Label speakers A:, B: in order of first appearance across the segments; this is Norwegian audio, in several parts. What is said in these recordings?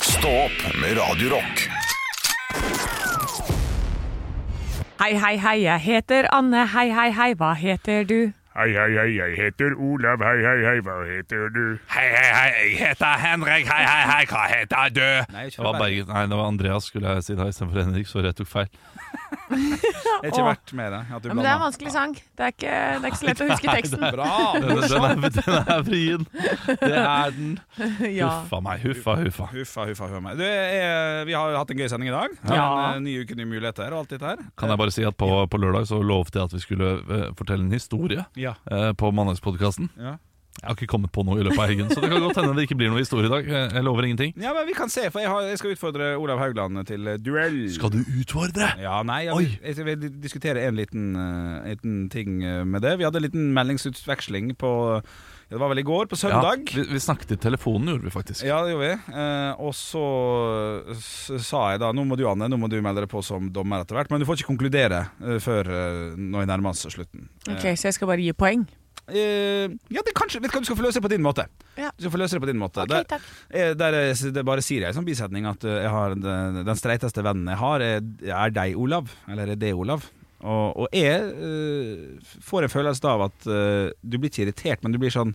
A: Stå opp med Radio Rock.
B: Hei, hei, hei, jeg heter Anne. Hei, hei, hei, hva heter du?
C: Hei, hei, hei, jeg heter Olav. Hei, hei, hei, hva heter du?
D: Hei, hei, hei, jeg heter Henrik. Hei, hei, hei, hva heter du?
E: Nei, ikke
D: det, var
E: fra
D: Bergen. Nei, det var Andreas, skulle jeg si da, istedenfor Henrik. Sorry, jeg tok feil.
E: Det er ikke verdt med det. At du
B: Ja, men det er en vanskelig sang. Det er ikke, det er ikke så lett å huske teksten.
E: Bra!
D: Den, den, er, den er vrien. Det er den.
B: Ja.
D: Huffa meg. Huffa, huffa.
E: Huffa, huffa, huffa meg. Du, eh, vi har jo hatt en gøy sending i dag.
B: Ja.
E: En, eh, Ny uke, nye muligheter og alt dette her.
D: Kan jeg bare si at på, på lørdag så lovte jeg at vi skulle eh, fortelle en historie
E: Ja.
D: eh, på Mandagspodkasten.
E: Ja.
D: Jeg har ikke kommet på noe i løpet av helgen, så det kan godt hende det ikke blir noe historie i dag. Eh, Jeg- Jeg lover ingenting.
E: ja, men vi kan se, for jeg, har, jeg skal utfordre Olav Haugland til eh, duell.
D: Skal du utfordre?
E: Ja, nei, jeg,
D: Oi.
E: vil- jeg vil diskutere en liten, eh, liten ting eh, med det. Vi hadde en liten meldingsutveksling på ja, Det var vel i går, på søndag.
D: Ja, vi, vi snakket i telefonen, gjorde vi faktisk.
E: Ja, det gjorde vi. Eh, og så s- sa jeg da Nå må du, Anne, nå må du melde deg på som dommer etter hvert. Men du får ikke konkludere eh, før eh, når jeg nærmer oss slutten.
B: Ok, så jeg skal bare gi poeng.
E: Eh, ja, det kanskje, vet du hva, du skal få løse det på din måte.
B: Ja.
E: Du skal få løse det på din måte
B: Ok,
E: Der-
B: takk.
E: eh, der, er- det bare sier jeg som bisetning at eh, jeg har den, den streiteste vennen jeg har, er, er deg, Olav. Eller er det, Olav? Og, og jeg eh, får en følelse av at eh, du blir ikke irritert, men du blir sånn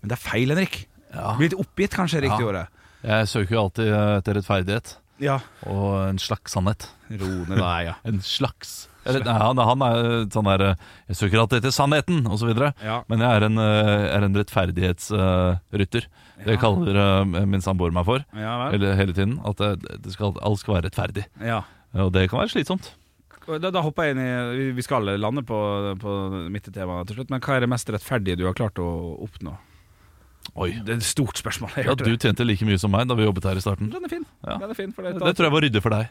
E: Men det er feil, Henrik.
D: Ja.
E: Du blir litt oppgitt, kanskje, er riktig
D: Ja.
E: ordet.
D: Jeg søker jo alltid eh, etter rettferdighet
E: Ja.
D: og en slags sannhet.
E: Ro ned deg, ja.
D: En slags Eller, nei, han, han er sånn der eh, Jeg søker alltid etter sannheten, og så videre
E: Ja.
D: Men jeg er en, eh, er en rettferdighetsrytter Det
E: Ja.
D: kaller eh, min samboer meg for
E: Ja vel.
D: Eller hele tiden At det, det skal, alt skal være rettferdig
E: Ja.
D: Og det kan være slitsomt
E: Og Da, da hopper jeg inn i vi- Vi skal lande på, på mitt tema til slutt, men hva er det mest rettferdige du har klart å oppnå?
D: Oi
E: Det er et stort spørsmål. Jeg
D: Ja,
E: hørte
D: du
E: det.
D: tjente like mye som meg da vi jobbet her i starten
E: Den er fin.
D: Ja.
E: Den er fin for det,
D: Det tror jeg var ryddig for deg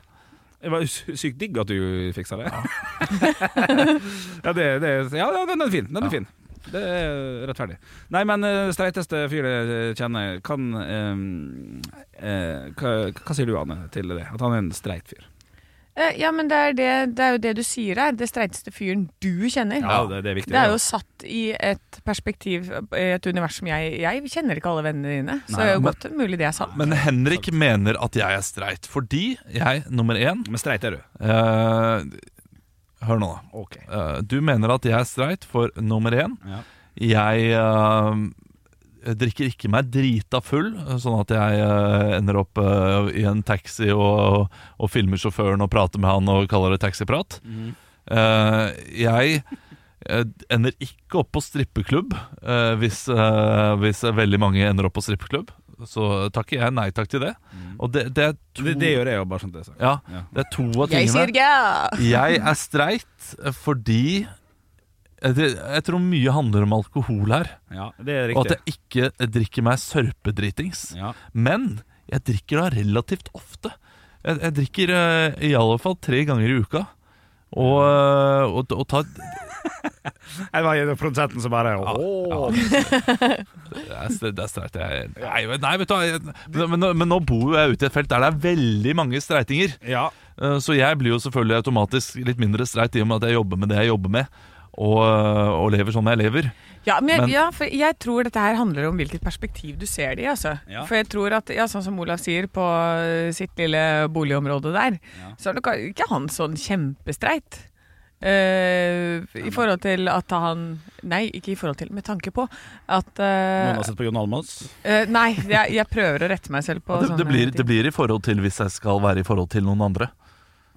E: det var sy- sykt digg at du fiksa det. ja, det, det, ja ja, den er fin. Den er
D: Ja.
E: fin. Det er rettferdig. Nei, men eh, streiteste fyr jeg kjenner, kan eh, eh, hva, hva sier du, Anne, til det? At han er en streit fyr?
B: Eh, Ja, men det er, det, det er jo det du sier her. Det streiteste fyren du kjenner.
E: det, er viktig.
B: Det er jo satt i et perspektiv, i et univers som jeg Jeg kjenner ikke alle vennene dine, så det er jo
D: men-
B: godt mulig det er sant.
D: Men Henrik mener at jeg er streit Fordi jeg, nummer én
E: Men streit er du.
D: eh, Hør nå da
E: Ok.
D: Eh, Du mener at jeg er streit for nummer én.
E: Ja.
D: Jeg eh, drikker ikke meg drita full, sånn at jeg eh, ender opp eh, i en taxi og, og filmer sjåføren og prater med han og kaller det taxiprat. Eh, jeg eh, ender ikke opp på strippeklubb eh, hvis, eh, hvis veldig mange ender opp på strippeklubb. Så takker jeg nei takk til det. Og det, det er to,
E: Det, det gjør jeg jo, bare sånn at det er sagt.
D: ja,
E: Ja.
D: det er to av tingene.
B: Jeg sier ikke
D: Jeg er streit fordi jeg, jeg tror mye handler om alkohol her.
E: Ja, det er
D: Og at
E: riktig.
D: jeg ikke drikker meg sørpedritings.
E: Ja.
D: Men jeg drikker da relativt ofte. Jeg, jeg drikker eh, i alle fall tre ganger i uka. Og, eh, og, og tar
E: Det var jo produsenten som bare
D: ja, ja. Det er st- Det er streit. Jeg, nei, men- nei, vet du hva. jeg- Men, men, nå- men nå bor jo jeg ute i et felt der det er veldig mange streitinger.
E: Ja.
D: Eh, Så jeg blir jo selvfølgelig automatisk litt mindre streit i og med at jeg jobber med det jeg jobber med, og, og lever sånn jeg lever.
B: Ja, men, jeg-
D: Men-
B: ja, for jeg tror dette her handler om hvilket perspektiv du ser det i. Altså.
E: Ja.
B: For jeg tror at, ja, sånn som Olav sier, på eh, sitt lille boligområde der,
E: Ja.
B: så er nok ikke han sånn kjempestreit. Eh, I forhold til at han Nei, ikke i forhold til, med tanke på at eh,
E: Noen har sett på Jon Almaas.
B: eh, Nei, jeg, jeg prøver å sånn, rette meg selv på
D: Det,
B: sånne
D: det, blir,
B: ting.
D: det blir i forhold til hvis jeg skal være i forhold til noen andre.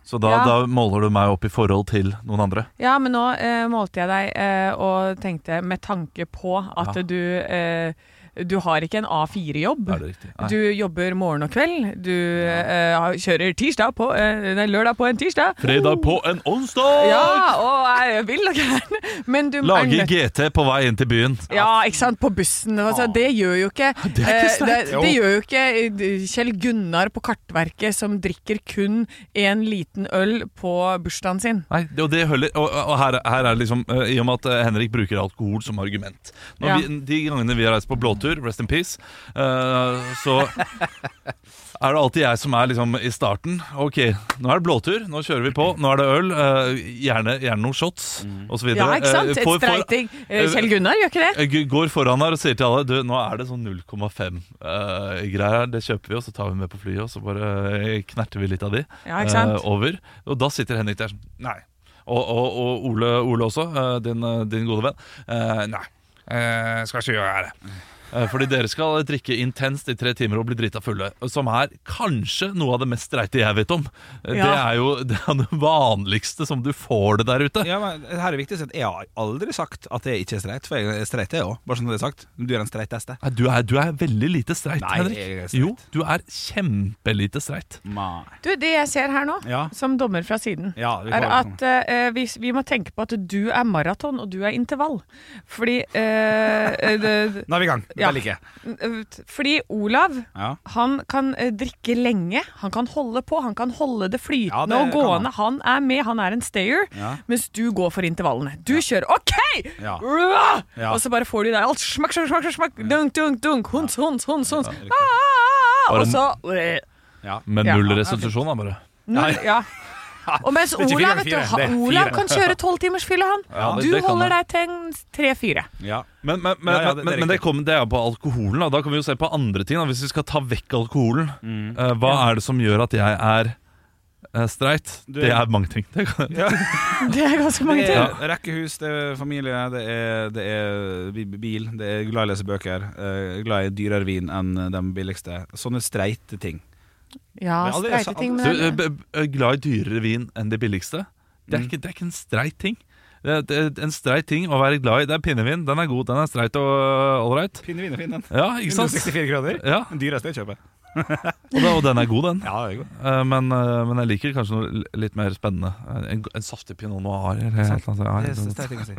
D: Så da,
B: Ja.
D: da måler du meg opp i forhold til noen andre.
B: Ja, men nå eh, målte jeg deg eh, og tenkte med tanke på at
D: Ja.
B: du eh, Du har ikke en A4-jobb.
D: Er det riktig? Nei.
B: Du jobber morgen og kveld. Du eh, har- kjører tirsdag på, eh, nei, lørdag på en tirsdag.
D: Fredag på en onsdag!
B: Ja, og er vill og gæren. Men du er
D: Lager
B: nødt-
D: GT på vei inn til byen.
B: Ja, ikke sant. På bussen. Altså, det gjør jo ikke,
D: Det er ikke
B: eh,
D: streit.
B: det, det gjør jo ikke eh, Kjell Gunnar på Kartverket som drikker kun en liten øl på bursdagen sin.
D: Nei, det, og, det holder, og, og her, her er det liksom eh, I og med at eh, Henrik bruker alkohol som argument Når
B: Ja.
D: vi, De gangene vi har reist på blåtur tur, rest in peace, eh, så er det alltid jeg som er liksom i starten. Ok, nå er det blåtur, nå kjører vi på, nå er det øl, eh, gjerne, gjerne noen shots osv.
B: Mm. Ja, ikke sant?
D: eh,
B: Et streiting. Eh, Kjell Gunnar gjør ikke det.
D: Går foran her og sier til alle Du, nå er det sånn 0,5-greier. eh, det kjøper vi, og så tar vi med på flyet, og så bare eh, knerter vi litt av de
B: Ja, ikke sant?
D: eh, over. Og da sitter Henrik der sånn Nei. Og, og, og Ole, Ole også, eh, din, eh, din gode venn. Eh, nei. Eh, skal ikke gjøre det. Eh, Fordi dere skal drikke intenst i tre timer og bli drita fulle. Som er kanskje noe av det mest streite jeg vet om. Eh, Det
B: Ja.
D: er jo det, er det vanligste som du får det der ute.
E: Ja, men her er det viktig å si at Jeg har aldri sagt at jeg ikke er streit, for jeg er streit, jeg òg. Bare sånn det er sagt. Du er den streiteste.
D: Nei, Eh, du er, du er veldig lite streit,
E: Nei,
D: Henrik.
E: jeg er streit.
D: Jo, du er kjempelite streit.
B: Du, det jeg ser her nå,
E: Ja.
B: som dommer fra siden,
E: Ja, vi får-
B: er at eh, vi, vi må tenke på at du er maraton, og du er intervall. Fordi eh, det-
E: Nå er vi i gang. Det
B: Ja.
E: liker jeg.
B: Fordi Olav
E: Ja.
B: han kan eh, drikke lenge, han kan holde på, han kan holde det flytende
E: Ja, det
B: og
E: kan
B: gående. Han. er med, han er en stayer,
E: Ja.
B: mens du går for intervallene. Du kjører OK!
E: Ja.
B: Uah!
E: Ja.
B: Og så bare får du i deg alt. Smakk, smakk, smakk, smakk. Dunk, dunk, dunk. Hunds, hunds, hunds. hunds.
E: riktig.
B: Ah, ah, ah.
D: Bare
B: Og så øh,
E: Ja.
D: Med
B: Ja.
D: null restitusjon, da, bare.
B: null, ja. Og mens
E: er ikke fire,
B: Olav, vet du,
E: fire.
B: ha-
E: Det er
B: Olav
E: fire.
B: kan kjøre tolvtimersfylle, han.
D: Ja, det-
B: du
D: det kan
B: holder
D: han.
B: deg til en tre-fire.
E: ja.
D: Men, men, men,
E: Ja, ja, det- det er
D: det, men, men det,
E: riktig.
D: kom, det er på alkoholen. Da. da kan vi jo se på andre ting. Da. Hvis vi skal ta vekk alkoholen, eh, hva er det som gjør at jeg er eh, streit?
E: Du-
D: det er mange ting. Det kan,
B: Det er ganske mange
E: Det
B: ting.
E: er rekkehus, det er familie, det er, det er bi- bil, det er glad i å lese bøker, eh, glad i dyrere vin enn de billigste. Sånne streite ting. Mm.
B: Ja,
E: Men aldri-
B: streite ting.
D: du,
B: Men
D: eh, b- b- glad i dyrere vin enn de billigste. Det er, ikke, det er ikke en streit ting. Det er, det er en streit ting å være glad i. Det er pinnevin. Den er god, den er streit og ålreit.
E: Pinnevin er fin, den.
D: Ja, ikke sant?
E: 164 kroner.
D: Ja,
E: Den dyreste jeg kjøper.
D: og, det, og den er god, den.
E: Eh, Ja, det er godt.
D: Eh, men, eh, men jeg liker kanskje noe l- litt mer spennende. En- En, en saftig pinot noir. Eller, et eller annet.
E: Det er
D: Ja,
E: så streit ting å si.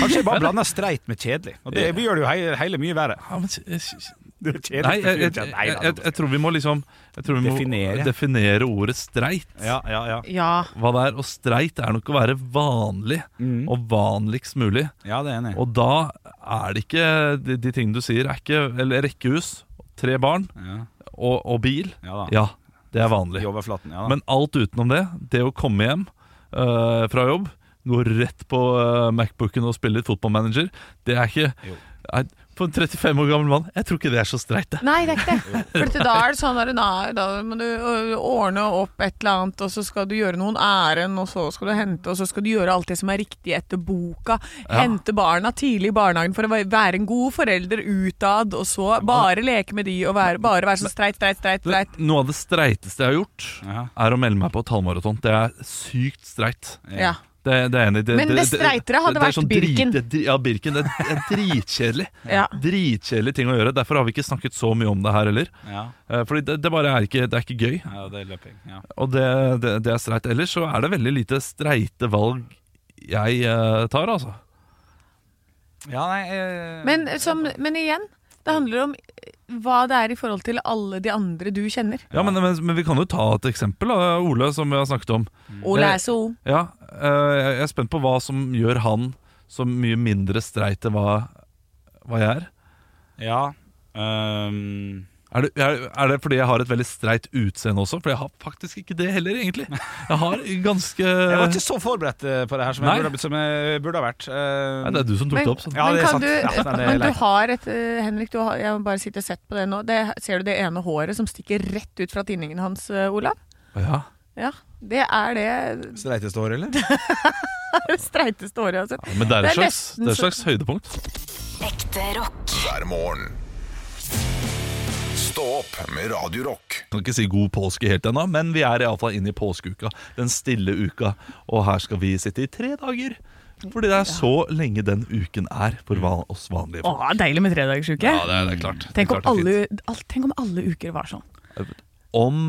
E: Kanskje jeg bare blander streit med kjedelig. Og det gjør det jo hele, hele mye verre.
D: ja, men, s- s-
E: Det er kjedelig.
D: nei, jeg, jeg, jeg,
E: Nei,
D: jeg,
E: da,
D: jeg, jeg tror vi må liksom jeg tror vi må
E: Definere.
D: definere ordet streit.
E: Ja, ja, ja.
B: ja.
D: Hva det er, Og streit er nok å være vanlig,
E: Mm.
D: og vanligst mulig.
E: Ja, det er enig.
D: Og da er det ikke De, de tingene du sier, er ikke Eller rekkehus, tre barn
E: Ja,
D: og, og bil.
E: ja da.
D: Ja, det er vanlig.
E: I overflaten, ja da.
D: Men alt utenom det, det å komme hjem øh, fra jobb, gå rett på øh, Macbooken og spille litt fotballmanager, det er ikke
E: Jo.
D: Nei, For en 35 år gammel mann, jeg tror ikke det er så streit, det.
B: Nei, det er ikke det. For da er det sånn der, nei, da må du ø, ordne opp et eller annet, og så skal du gjøre noen ærend, og så skal du hente, og så skal du gjøre alt det som er riktig etter boka.
D: Ja.
B: Hente barna tidlig i barnehagen for å væ- være en god forelder utad, og så bare leke med de og være, bare være sånn streit, streit, streit,
D: det.
B: streit.
D: Noe av det streiteste jeg har gjort,
E: Ja.
D: er å melde meg på et halvmaraton. Det er sykt streit.
B: Ja.
D: Det, det er jeg enig. i.
B: Men det streitere hadde
D: det er sånn
B: vært Birken.
D: Drit, det- ja, Birken. Det er, det er dritkjedelig.
B: Ja.
D: Dritkjedelig ting å gjøre. Derfor har vi ikke snakket så mye om det her heller.
E: Ja.
D: Eh, Fordi det, det bare er ikke, det er ikke gøy.
E: ja, det er løping. Ja.
D: Og det, det, det er streit. Ellers så er det veldig lite streite valg jeg eh, tar, altså.
E: ja, nei eh,
B: Men, som, men igjen, det handler om eh, hva det er i forhold til alle de andre du kjenner.
D: Ja, men, men, men vi kan jo ta et eksempel, da, Ole, som vi har snakket om.
B: Ole Mm. er så ung.
D: Ja, eh, Jeg er spent på hva som gjør han så mye mindre streit enn hva, hva jeg er.
E: Ja. ehm,
D: Er det, er, er det fordi jeg har et veldig streit utseende også? For jeg har faktisk ikke det heller, egentlig. Jeg har ganske
E: jeg var ikke så forberedt eh, på det her som
D: Nei.
E: jeg, burde, ha blitt- som jeg burde ha vært. Eh,
D: Nei, Det er du som tok det opp. sånn. Så.
E: Ja,
B: men
E: det er
B: kan
E: sant.
B: du,
E: Ja, nei, det er
B: men du
E: leit.
B: har et eh, Henrik, du har, jeg har bare sittet og sett på det nå. Det, ser du det ene håret som stikker rett ut fra tinningen hans, eh, Olav?
D: Ja.
B: Ja, det er det
E: Streiteste håret, eller?
B: streiteste håret jeg har sett.
D: Men det er
B: Det
D: et
B: er
D: slags,
B: nesten
D: det er et slags høydepunkt.
F: Ekte rock.
A: hver morgen. Stå opp med Radio Rock.
D: Kan ikke si god påske helt ennå, men vi er iallfall inne i påskeuka. Den stille uka. Og her skal vi sitte i tre dager. Fordi det er så lenge den uken er for van oss vanlige
B: Å,
D: folk.
B: deilig med tredagersuke.
D: Ja, det er, det er klart.
B: tenk, om
D: det er klart det er
B: alle, alt- tenk om alle uker var sånn.
D: fint. Om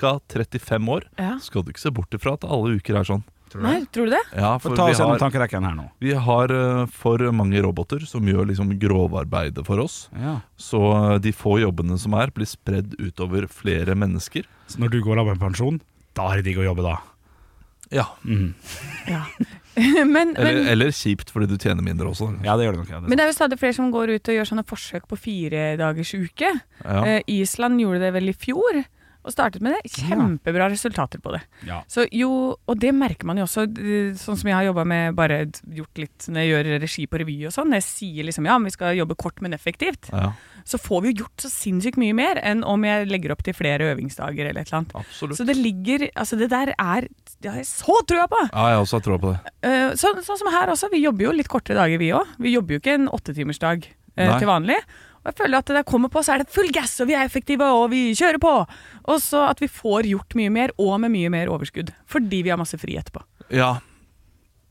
D: ca. 35 år
B: Ja.
D: skal du ikke se bort ifra at alle uker er sånn.
B: Nei, tror du det?
D: Ja,
E: Få
D: for
E: ta
D: vi
E: oss gjennom
D: har,
E: tankerekken her nå.
D: vi har eh, for mange roboter som gjør liksom grovarbeidet for oss.
E: Ja.
D: Så eh, de få jobbene som er, blir spredd utover flere mennesker.
E: Så når du går av med pensjon, da er det digg å jobbe, da.
D: Ja.
E: Mhm.
B: Ja. men,
D: Eller,
B: men,
D: eller kjipt fordi du tjener mindre også.
E: Ja, det gjør det nok. Ja, det er
B: men det er jo stadig flere som går ut og gjør sånne forsøk på firedagersuke.
D: Ja.
B: Eh, Island gjorde det vel i fjor, og startet med det. Kjempebra resultater på det.
E: sant. ja.
B: Så jo, og det merker man jo også, d- sånn som jeg har jobba med, bare d- gjort litt når jeg gjør regi på revy og sånn. Jeg sier liksom ja, men vi skal jobbe kort, men effektivt.
D: Ja,
B: Så får vi jo gjort så sinnssykt mye mer enn om jeg legger opp til flere øvingsdager eller et eller annet.
D: absolutt.
B: Så det ligger Altså, det der er Det har jeg så trua på!
D: Ja, jeg også har troa på det.
B: Eh, så, sånn som her også, vi jobber jo litt kortere dager vi òg. Vi jobber jo ikke en åttetimersdag uh,
D: Nei.
B: til vanlig. Og jeg føler at det der kommer på, så er det full gass, og vi er effektive, og vi kjører på! Og så at vi får gjort mye mer, og med mye mer overskudd. Fordi vi har masse fri etterpå.
D: Ja.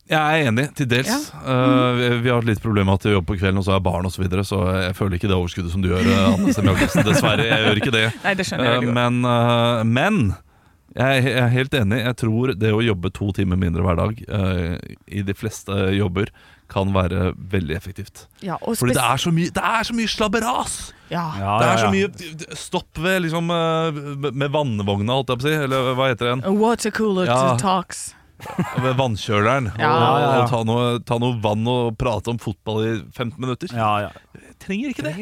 D: Jeg er enig, til dels. Eh, vi- vi har et lite problem med at jeg jobber på kvelden, og så har jeg barn osv., så, videre, så jeg føler ikke det overskuddet som du gjør, eh, Anne Sem Jacobsen. Dessverre, jeg gjør ikke det.
B: Nei, det skjønner jeg
D: Eh,
B: veldig godt.
D: Men, eh, men jeg er he- jeg er helt enig. Jeg tror det å jobbe to timer mindre hver dag eh, i de fleste jobber kan være veldig effektivt.
B: Ja, og
D: Fordi det
B: spes-
D: er så mye, det er så mye slabberas!
B: ja.
E: Ja,
D: det
E: ja,
D: er så
E: ja.
D: mye d- d- stopp ved liksom eh, med vannvogna, holdt jeg på å si. Eller hva heter den?
B: A Watercooler
D: Ja.
B: talks.
D: Ved vannkjøleren.
B: Ja.
D: Og,
E: Ja, ja, ja.
D: og ta, noe, ta noe vann og prate om fotball i 15 minutter.
E: Ja, ja.
D: Jeg trenger ikke det.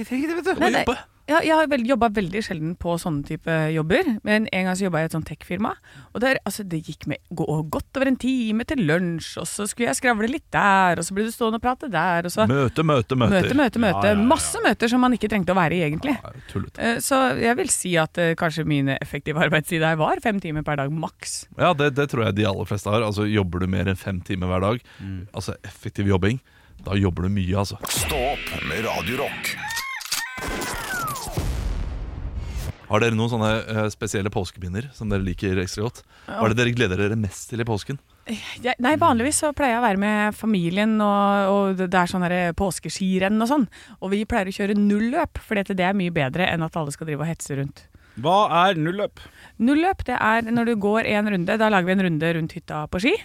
B: Nei,
D: Å
B: nei.
D: jobbe.
B: Ja, jeg har vel, jobba veldig sjelden på sånne type jobber, men en gang så jobba jeg i et sånt tech-firma. Og der, altså, det gikk med gå, godt over en time til lunsj, og så skulle jeg skravle litt der, og så ble du stående og prate der, og så
D: Møte, møte, møter.
B: Møte, møte, møte.
E: Ja, ja, ja.
B: Masse møter som man ikke trengte å være i, egentlig.
D: Ja, tullete.
B: Eh, Så jeg vil si at eh, kanskje min effektive arbeidstid her var fem timer per dag maks.
D: Ja, det, det tror jeg de aller fleste har. Altså, Jobber du mer enn fem timer hver dag,
E: Mm.
D: altså effektiv jobbing, da jobber du mye, altså.
A: Stå opp med Radio Rock.
D: Har dere noen sånne eh, spesielle påskepinner som dere liker ekstra godt? Hva er det dere gleder dere mest til i påsken?
B: Jeg,
E: Mm.
B: nei, vanligvis så pleier jeg å være med familien, og, og det det er sånn her påskeskirenn og sånn. Og vi pleier å kjøre nulløp, for det er mye bedre enn at alle skal drive og hetse rundt.
E: Hva er nulløp?
B: Nulløp, det er når du går en runde, da lager vi en runde rundt hytta på ski.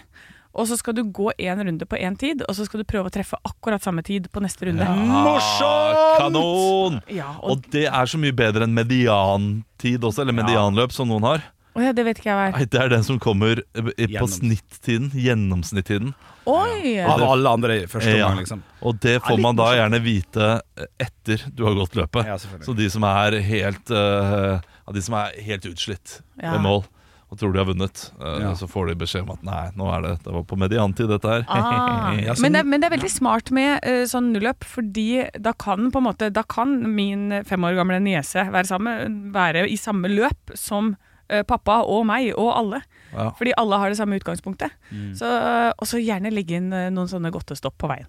B: Og så skal du gå en runde på én tid, og så skal du prøve å treffe akkurat samme tid på neste runde.
D: Morsomt! Kanon!
B: Ja, og,
D: Og det er så mye bedre enn mediantid også, eller medianløp, som noen har.
B: Å ja, det vet ikke jeg hva er.
D: Nei, det er den som kommer eh, i- på
E: Gjennoms-
D: snittiden, gjennomsnittiden.
B: Oi!
E: Av alle andre i første
D: Ja.
E: omgang, liksom.
D: Og det får man da gjerne vite eh, etter du har gått løpet.
E: Ja, selvfølgelig.
D: så de som er helt, eh, ja, de som er helt utslitt
B: Ja.
D: ved mål og tror de har vunnet, eh,
E: Ja.
D: så får de beskjed om at nei, nå er det, det var på mediantid dette her.
B: Ah.
D: Ja, sånn. så-
B: men, det, men det er veldig smart med eh, sånn nulløp, fordi da kan på en måte Da kan min fem år gamle niese være, sammen, være i samme løp som eh, pappa og meg og alle.
D: Ja.
B: Fordi alle har det samme utgangspunktet. Så, eh, og så gjerne legge inn eh, noen sånne godtestopp på veien.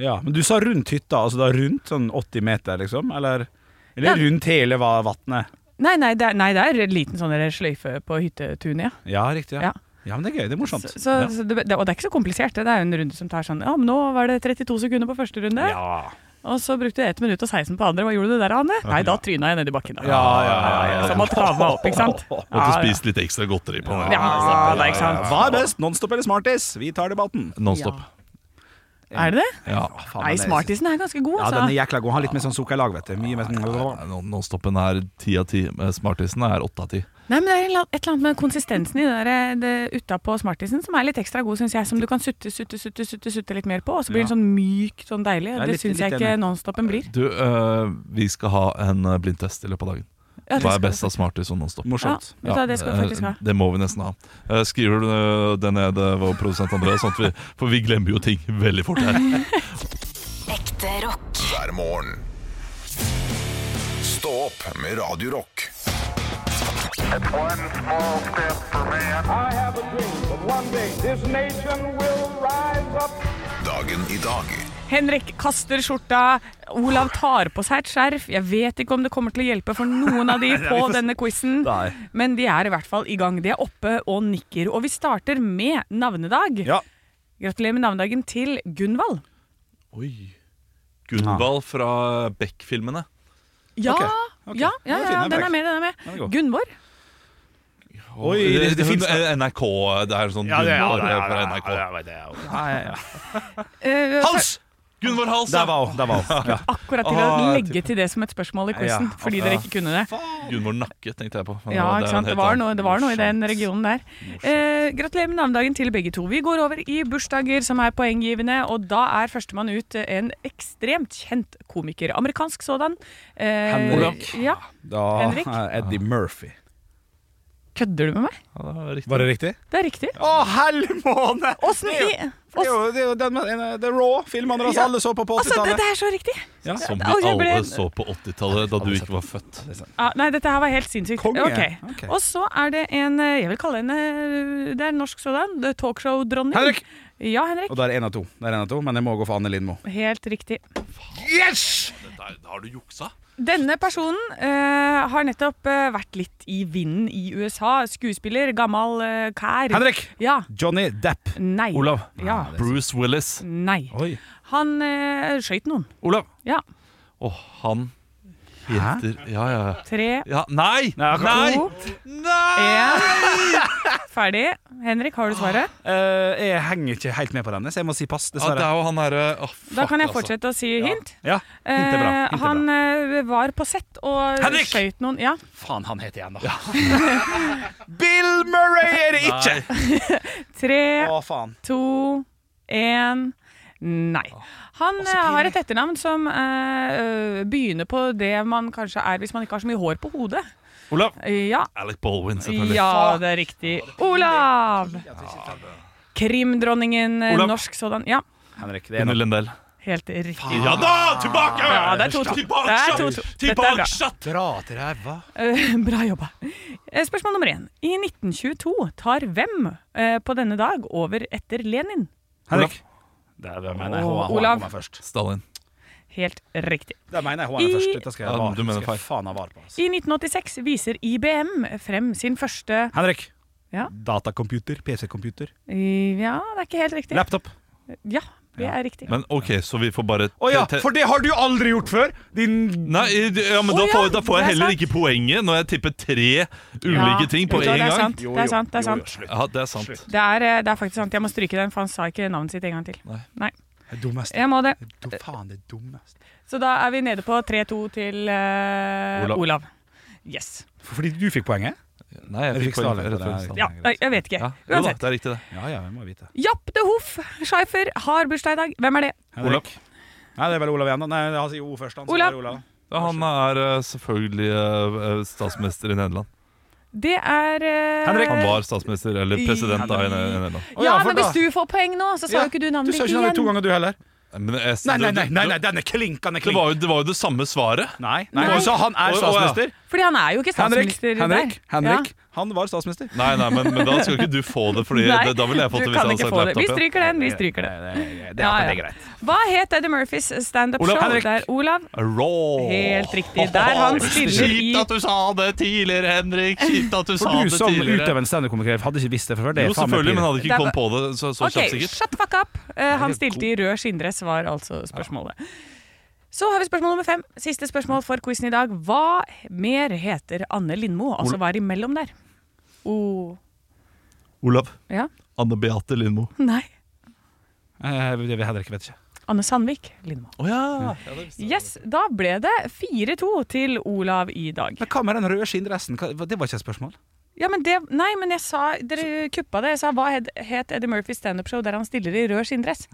E: Ja, Men du sa rundt hytta, altså da rundt sånn 80 meter, liksom? Eller,
B: Ja.
E: eller rundt hele va- vatnet?
B: Nei, nei, det er, nei, det er en liten sånn der sløyfe på hyttetunet, ja.
E: Ja, riktig.
B: Ja.
E: Ja. ja, men det er gøy. Det er morsomt.
B: Så, så, så det, det, og det er ikke så komplisert. Det Det er jo en runde som tar sånn Ja, men nå var det 32 sekunder på første runde,
E: ja. ja.
B: og så brukte du 1 minutt og 16 på andre. Hva gjorde du der, Anne? Nei, da tryna jeg nedi bakken. Da.
E: Ja, ja, ja, ja.
B: Så man tar meg opp, ikke sant?
D: Måtte
B: Ja, ja.
D: spist litt ekstra godteri på den.
B: Ja, ja, ja, ikke sant?
E: Hva er best, Nonstop eller Smarties? Vi tar debatten.
D: Nonstop.
B: Er det det?
D: Ja.
E: Faen,
B: Nei,
E: den er-
B: Smartisen er ganske god,
E: Ja, den
B: altså.
E: er jækla god. Han har litt mer sånn sukkerlag, vet du. Mye mer sånn
D: Non- Nonstopen er ti av ti. eh, Smartisen er åtte av ti.
B: Nei, men Det er en la- et eller annet med konsistensen i det, der, eh, det utapå Smartisen som er litt ekstra god, syns jeg. Som du kan sutte, sutte, sutte sutte, sutte litt mer på, og så blir den sånn myk, sånn deilig.
E: Ja,
B: Det
E: litt-
B: syns jeg
E: litt
B: ikke
E: enig.
B: Nonstopen blir.
D: Du, eh, vi skal ha en eh, blindtest i løpet av dagen.
B: Ja, det
D: Hva er
B: skal-
D: best av Smartis og Nonstop?
E: Morsomt.
B: Ja, vet du hva, det skal vi
D: eh,
B: faktisk ha.
D: det må vi nesten ha. Eh, Skriver du eh, det ned, eh, vår produsent André, sånn at vi, for vi glemmer jo ting veldig fort her.
F: Ekte rock.
A: hver morgen. Stå opp med Radio Rock.
G: I have a dream that one day this nation will rise up.
A: Dagen i dag.
B: Henrik kaster skjorta, Olav tar på seg et skjerf. Jeg vet ikke om det kommer til å hjelpe for noen av de på denne quizen,
E: Nei.
B: men de er i hvert fall i gang. De er oppe og nikker. Og vi starter med navnedag.
E: Ja.
B: Gratulerer med navnedagen til Gunvald.
D: Oi. Gunvald fra Beck-filmene.
B: Ja,
E: Ok, ok.
B: ja, ja,
E: Den er
B: ja,
E: fin, den er
B: den er
E: frekk.
B: med. den er
E: Den er
B: med
E: god.
B: Gunvor.
E: Oi, det, det,
D: hun-
E: finnes
D: Eh, NRK, det er sånn Gunvald fra NRK.
E: ja, ja, ja.
B: Eh,
E: Hans!
D: Gunvor Hals!
E: Der var hun! Der var hun. Ja.
B: Akkurat til
E: Ah,
B: å legge til det som et spørsmål i quizen,
E: Ja. altså.
B: fordi
E: Ja.
B: dere ikke kunne det.
D: Gunvor Nakke, tenkte jeg på. Men
B: Ja,
D: er
B: ikke
D: en
B: sant? Det
D: helt
B: var,
D: annen.
B: noe, det var noe i den regionen der. Eh, gratulerer med navnedagen til begge to. Vi går over i bursdager som er poenggivende, og da er førstemann ut eh, en ekstremt kjent komiker. Amerikansk sådan. Eh,
E: Henrik.
B: Ja.
E: Da
B: Henrik?
E: er Eddie Murphy.
B: Kødder du med meg?
D: Ja, det var riktig.
E: Var det riktig?
B: Det er riktig.
E: Å, helmåne!
B: Åssen i
E: Det er jo, det er jo den, en av- det er Raw, filmen deres alle så på på
B: Altså, det,
E: 80-tallet.
B: det er så riktig!
E: Ja.
D: Som
B: Og
D: vi
B: jeg ble-
D: alle så på 80-tallet, da du ikke var født.
B: Ja, nei, dette her var helt sinnssykt.
E: Konge.
B: Ok.
E: Ok.
B: Og så er det en eh, Jeg vil kalle henne eh, Det er en norsk sådan. det er Talkshow-dronning.
E: Henrik!
B: Ja, Henrik.
E: Og da er det én av to. Det er en av to, Men jeg må gå for Anne Lindmo.
B: Helt riktig.
D: har du juksa?
B: Denne personen eh, har nettopp eh, vært litt i vinden i USA. Skuespiller, gammel eh, kær.
E: Henrik!
B: Ja.
E: Johnny Depp.
B: Nei.
D: Olav.
B: Ja.
D: Bruce Willis.
B: Nei.
E: Oi.
B: Han eh, skøyt noen.
D: Olav.
B: Ja.
D: Og han heter Ja, ja, ja.
B: Tre,
D: ja. Nei!
E: Nei, akkurat. Oh!
B: to,
D: Nei! Nei!
B: én Ferdig. Henrik, har du svaret?
E: Eh, jeg henger ikke helt med på denne, så jeg må si pass,
D: Ja, det
E: dessverre.
D: er jo han derre Å, fuck,
B: Da kan jeg
D: altså.
B: fortsette å si hint.
E: Ah, Ja, hint er bra.
B: Eh,
E: Hint er bra.
B: han eh, var på sett og
E: Henrik!
B: skøyt noen. Ja.
E: Faen, han heter igjen, da. Bill Murray er det ikke!
D: Nei.
B: Tre,
E: Å, faen.
B: to, én Nei. Han eh, har et etternavn som eh, ø, begynner på det man kanskje er hvis man ikke har så mye hår på hodet. Eh,
D: Olav.
B: Ja,
D: Alec Baldwin, selvfølgelig.
B: ja det er riktig. Olav! Krimdronningen, eh,
D: Olav.
B: norsk sådan. Ja,
E: Henrik, det er
D: Gunnar
E: en av
D: Lindell.
B: helt riktig.
D: Ja da! Tilbake!
B: Ja, det er to-to. Det er to-to. Dette er bra.
D: Tilbakeshot!
E: Dra til ræva.
B: Eh, Bra jobba. Eh, Spørsmål nummer én. I 1922 tar hvem eh, på denne dag over etter Lenin?
E: Henrik. Det er- det mener jeg H- H-
B: Olav.
E: kommer først.
D: Stalin.
B: Helt riktig.
E: Det mener jeg H- er
B: I-
E: først. Dette skal jeg,
D: Ja,
E: ha var,
D: du mener
E: skal jeg
D: feil.
E: faen ha var på. Altså.
B: I 1986 viser IBM frem sin første
E: Henrik.
B: Ja.
E: Datacomputer. PC-computer.
B: eh, Ja, det er ikke helt riktig.
E: Laptop.
B: Ja, det er riktig.
D: Men OK, så vi får bare
E: Å ja,
D: te- te-
E: for det har du aldri gjort før! Din
D: Nei, ja, men
B: Å
D: da
B: ja,
D: får, da får
B: det
D: jeg
B: er
D: heller
B: sant.
D: ikke poenget når jeg tipper tre ulike
B: Ja,
D: ting på
B: vet du hva,
D: én
B: Det er
D: gang.
B: sant, det er sant. Det er, sant.
D: Ja, det er sant.
B: Det, er, eh, det er faktisk sant. Jeg må stryke den, for han sa ikke navnet sitt en gang til.
D: Nei.
E: Det dummeste.
B: Jeg må det.
E: Du, faen, det dummeste.
B: Så da er vi nede på 3-2 til eh,
D: Olav.
B: Olav. Yes.
E: Fordi du fikk poenget?
D: Nei, jeg
E: Riksdagen
D: fikk poeng
E: for
D: rett
E: det
D: før
E: er-
D: Stalin.
B: Ja, nei, jeg vet ikke.
D: Ja, jo da,
B: Uansett.
D: det er riktig, det.
E: Ja, ja, vi må vite.
B: Japp de Hoff Scheifer har bursdag i dag. Hvem er det?
E: Henrik. Nei, det er vel Olav igjen, da. Nei, han sier O først. Han, så
B: Olav.
E: det er Olav.
D: Ja, han er eh, selvfølgelig eh, statsminister i Nederland.
B: Det er eh,
E: Henrik.
D: Han var statsminister, eller president da, i Ned- i Nederland.
E: Å,
B: Ja,
E: for
B: men
E: da-
B: hvis du får poeng nå, så sa
E: Ja,
B: ikke du navnet
E: Du sa
B: ditt
E: ikke navnet to
B: igjen.
E: ganger, du heller.
D: Men jeg-
E: Nei, nei, nei, nei, nei den er klinkende
D: Det,
E: klink.
D: var jo, det var jo det samme svaret.
E: Nei, nei,
B: Nei.
E: du sa han er
D: Å, å, ja.
E: statsminister.
B: Fordi han er jo ikke
E: Henrik,
B: statsminister
E: Henrik,
B: der.
E: Henrik. Han var statsminister.
D: Nei, nei, men, men da skal ikke du få det, Fordi
B: Nei,
D: det, da ville jeg fått
B: du
D: det
B: kan
D: hvis jeg
B: ikke
D: hadde sagt
B: få det. Vi
D: laptopen.
B: stryker den. vi stryker den
E: Det, det, det,
B: Ja,
E: det
B: ja.
E: er greit.
B: Hva het Eddie Murphys
E: Olav.
B: standup-show?
E: Henrik.
B: Det er Olav.
D: Raw.
B: Helt riktig. Der han spiller i
D: Kjipt at du sa det tidligere, Henrik! Kjipt at du sa
E: For du
D: det
E: som
D: tidligere.
E: utøvende standup-komiker hadde ikke visst det fra før. Det
D: Jo,
E: er faen meg
D: selvfølgelig, men
E: pinlig.
D: hadde
B: Det
D: ikke
B: er
D: kommet på det så, så kjapt,
B: Ok,
D: sikkert.
B: shut the fuck up. Eh, han stilte i rød skinndress, var altså spørsmålet. Så har vi spørsmål nummer fem. Siste spørsmål for quizen i dag. Hva mer heter Anne Lindmo? Altså hva er imellom der? O...
D: Olav.
B: Ja?
D: Anne Beate Lindmo.
B: Nei.
E: Eh, det vet Henrik vet ikke.
B: Anne Sandvik Lindmo.
D: Å ja.
B: Yes, da ble det 4-2 til Olav i dag.
E: Men hva med den røde skinndressen? Hva- Det var ikke et spørsmål.
B: Ja, men det Nei, men jeg sa Dere kuppa det. Jeg sa hva het, het Eddie Murphys standup-show der han stiller i rød skinndress?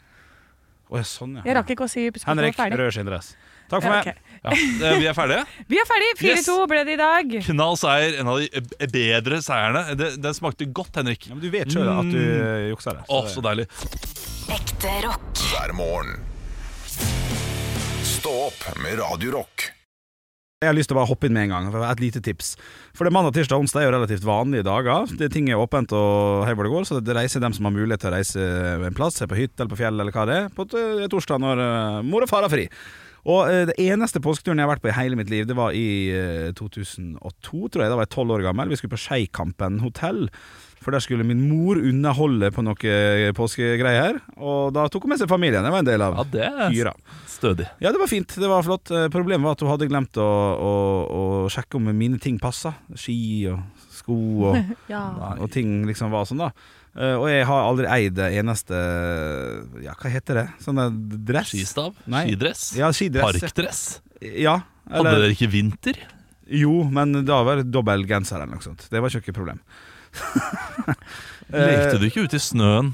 E: Å, ja, sånn,
B: Jeg
E: ja.
B: rakk ikke å si spørsmålet
E: Henrik,
B: ferdig.
E: rød skinndress. Takk for
B: Ja,
E: meg.
B: ok.
D: ja. Eh, Vi er ferdige.
B: Vi er ferdig. 4-2 ble det i dag.
D: Knall seier. En av de eh, bedre seierne. Det- Den smakte godt, Henrik.
E: Ja, men du vet sjøl at du eh, juksa der.
D: Å, Mm. så deilig.
F: Ekte rock.
A: hver morgen. Stå opp med Radio Rock.
E: Jeg har lyst til å bare hoppe inn med en gang. for Et lite tips. For det er Mandag, tirsdag og onsdag er jo relativt vanlige dager. Det Ting er åpent og hei hvor det går, så det reiser dem som har mulighet til å reise en plass, se på hytte eller på fjell eller hva det er, på t- torsdag når eh, mor og far har fri. Og eh, Det eneste påsketuren jeg har vært på i hele mitt liv, det var i eh, 2002, tror jeg. Da var jeg tolv år gammel. Vi skulle på Skeikampen hotell. For der skulle min mor underholde på noe eh, påskegreier. Og da tok hun med seg familien. Det var en del av
D: Ja, det er
E: hyra.
D: stødig.
E: Ja, det var fint. Det var flott. Eh, Problemet var at hun hadde glemt å, å, å sjekke om mine ting passa. Ski og sko og,
B: Ja.
E: og ting liksom var sånn, da. Eh, og jeg har aldri eid en eneste Ja, hva heter det? Sånn der dress?
D: Skistav?
E: Nei.
D: Skidress?
E: Ja, skidress.
D: Parkdress?
E: Ja.
D: Hadde
E: Eller,
D: dere ikke vinter?
E: jo, men da var det dobbel genser eller noe sånt. Det var ikke noe problem. Eh,
D: Lekte du ikke ute i snøen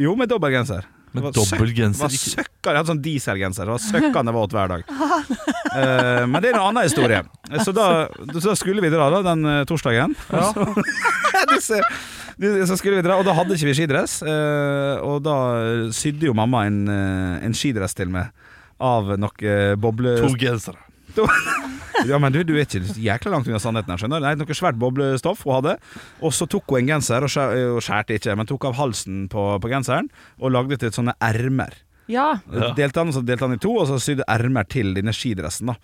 E: Jo, med dobbel genser. Det
D: med
E: var Det
D: dobbel
E: var
D: genser? Ikke-
E: søkkende, Jeg hadde sånn dieselgenser. Det var søkkende våt hver dag. Eh, men det er en annen historie. Så da, så da skulle vi dra da, den eh, torsdagen. Og Så, du ser- du- så skulle vi dra, og da hadde ikke vi skidress. eh, og da sydde jo mamma en, eh, en skidress til meg av noe eh, boble...
D: To gensere.
E: Ja, men du, du er ikke jækla langt unna sannheten her, skjønner du. Nei, noe svært boblestoff hun hadde. Og så tok hun en genser, og skjær- og skjærte ikke, men tok av halsen på, på genseren og lagde til sånne ermer.
B: Ja.
D: Ja.
E: Delte han, og så delte han i to, og så sydde ermer til denne skidressen. da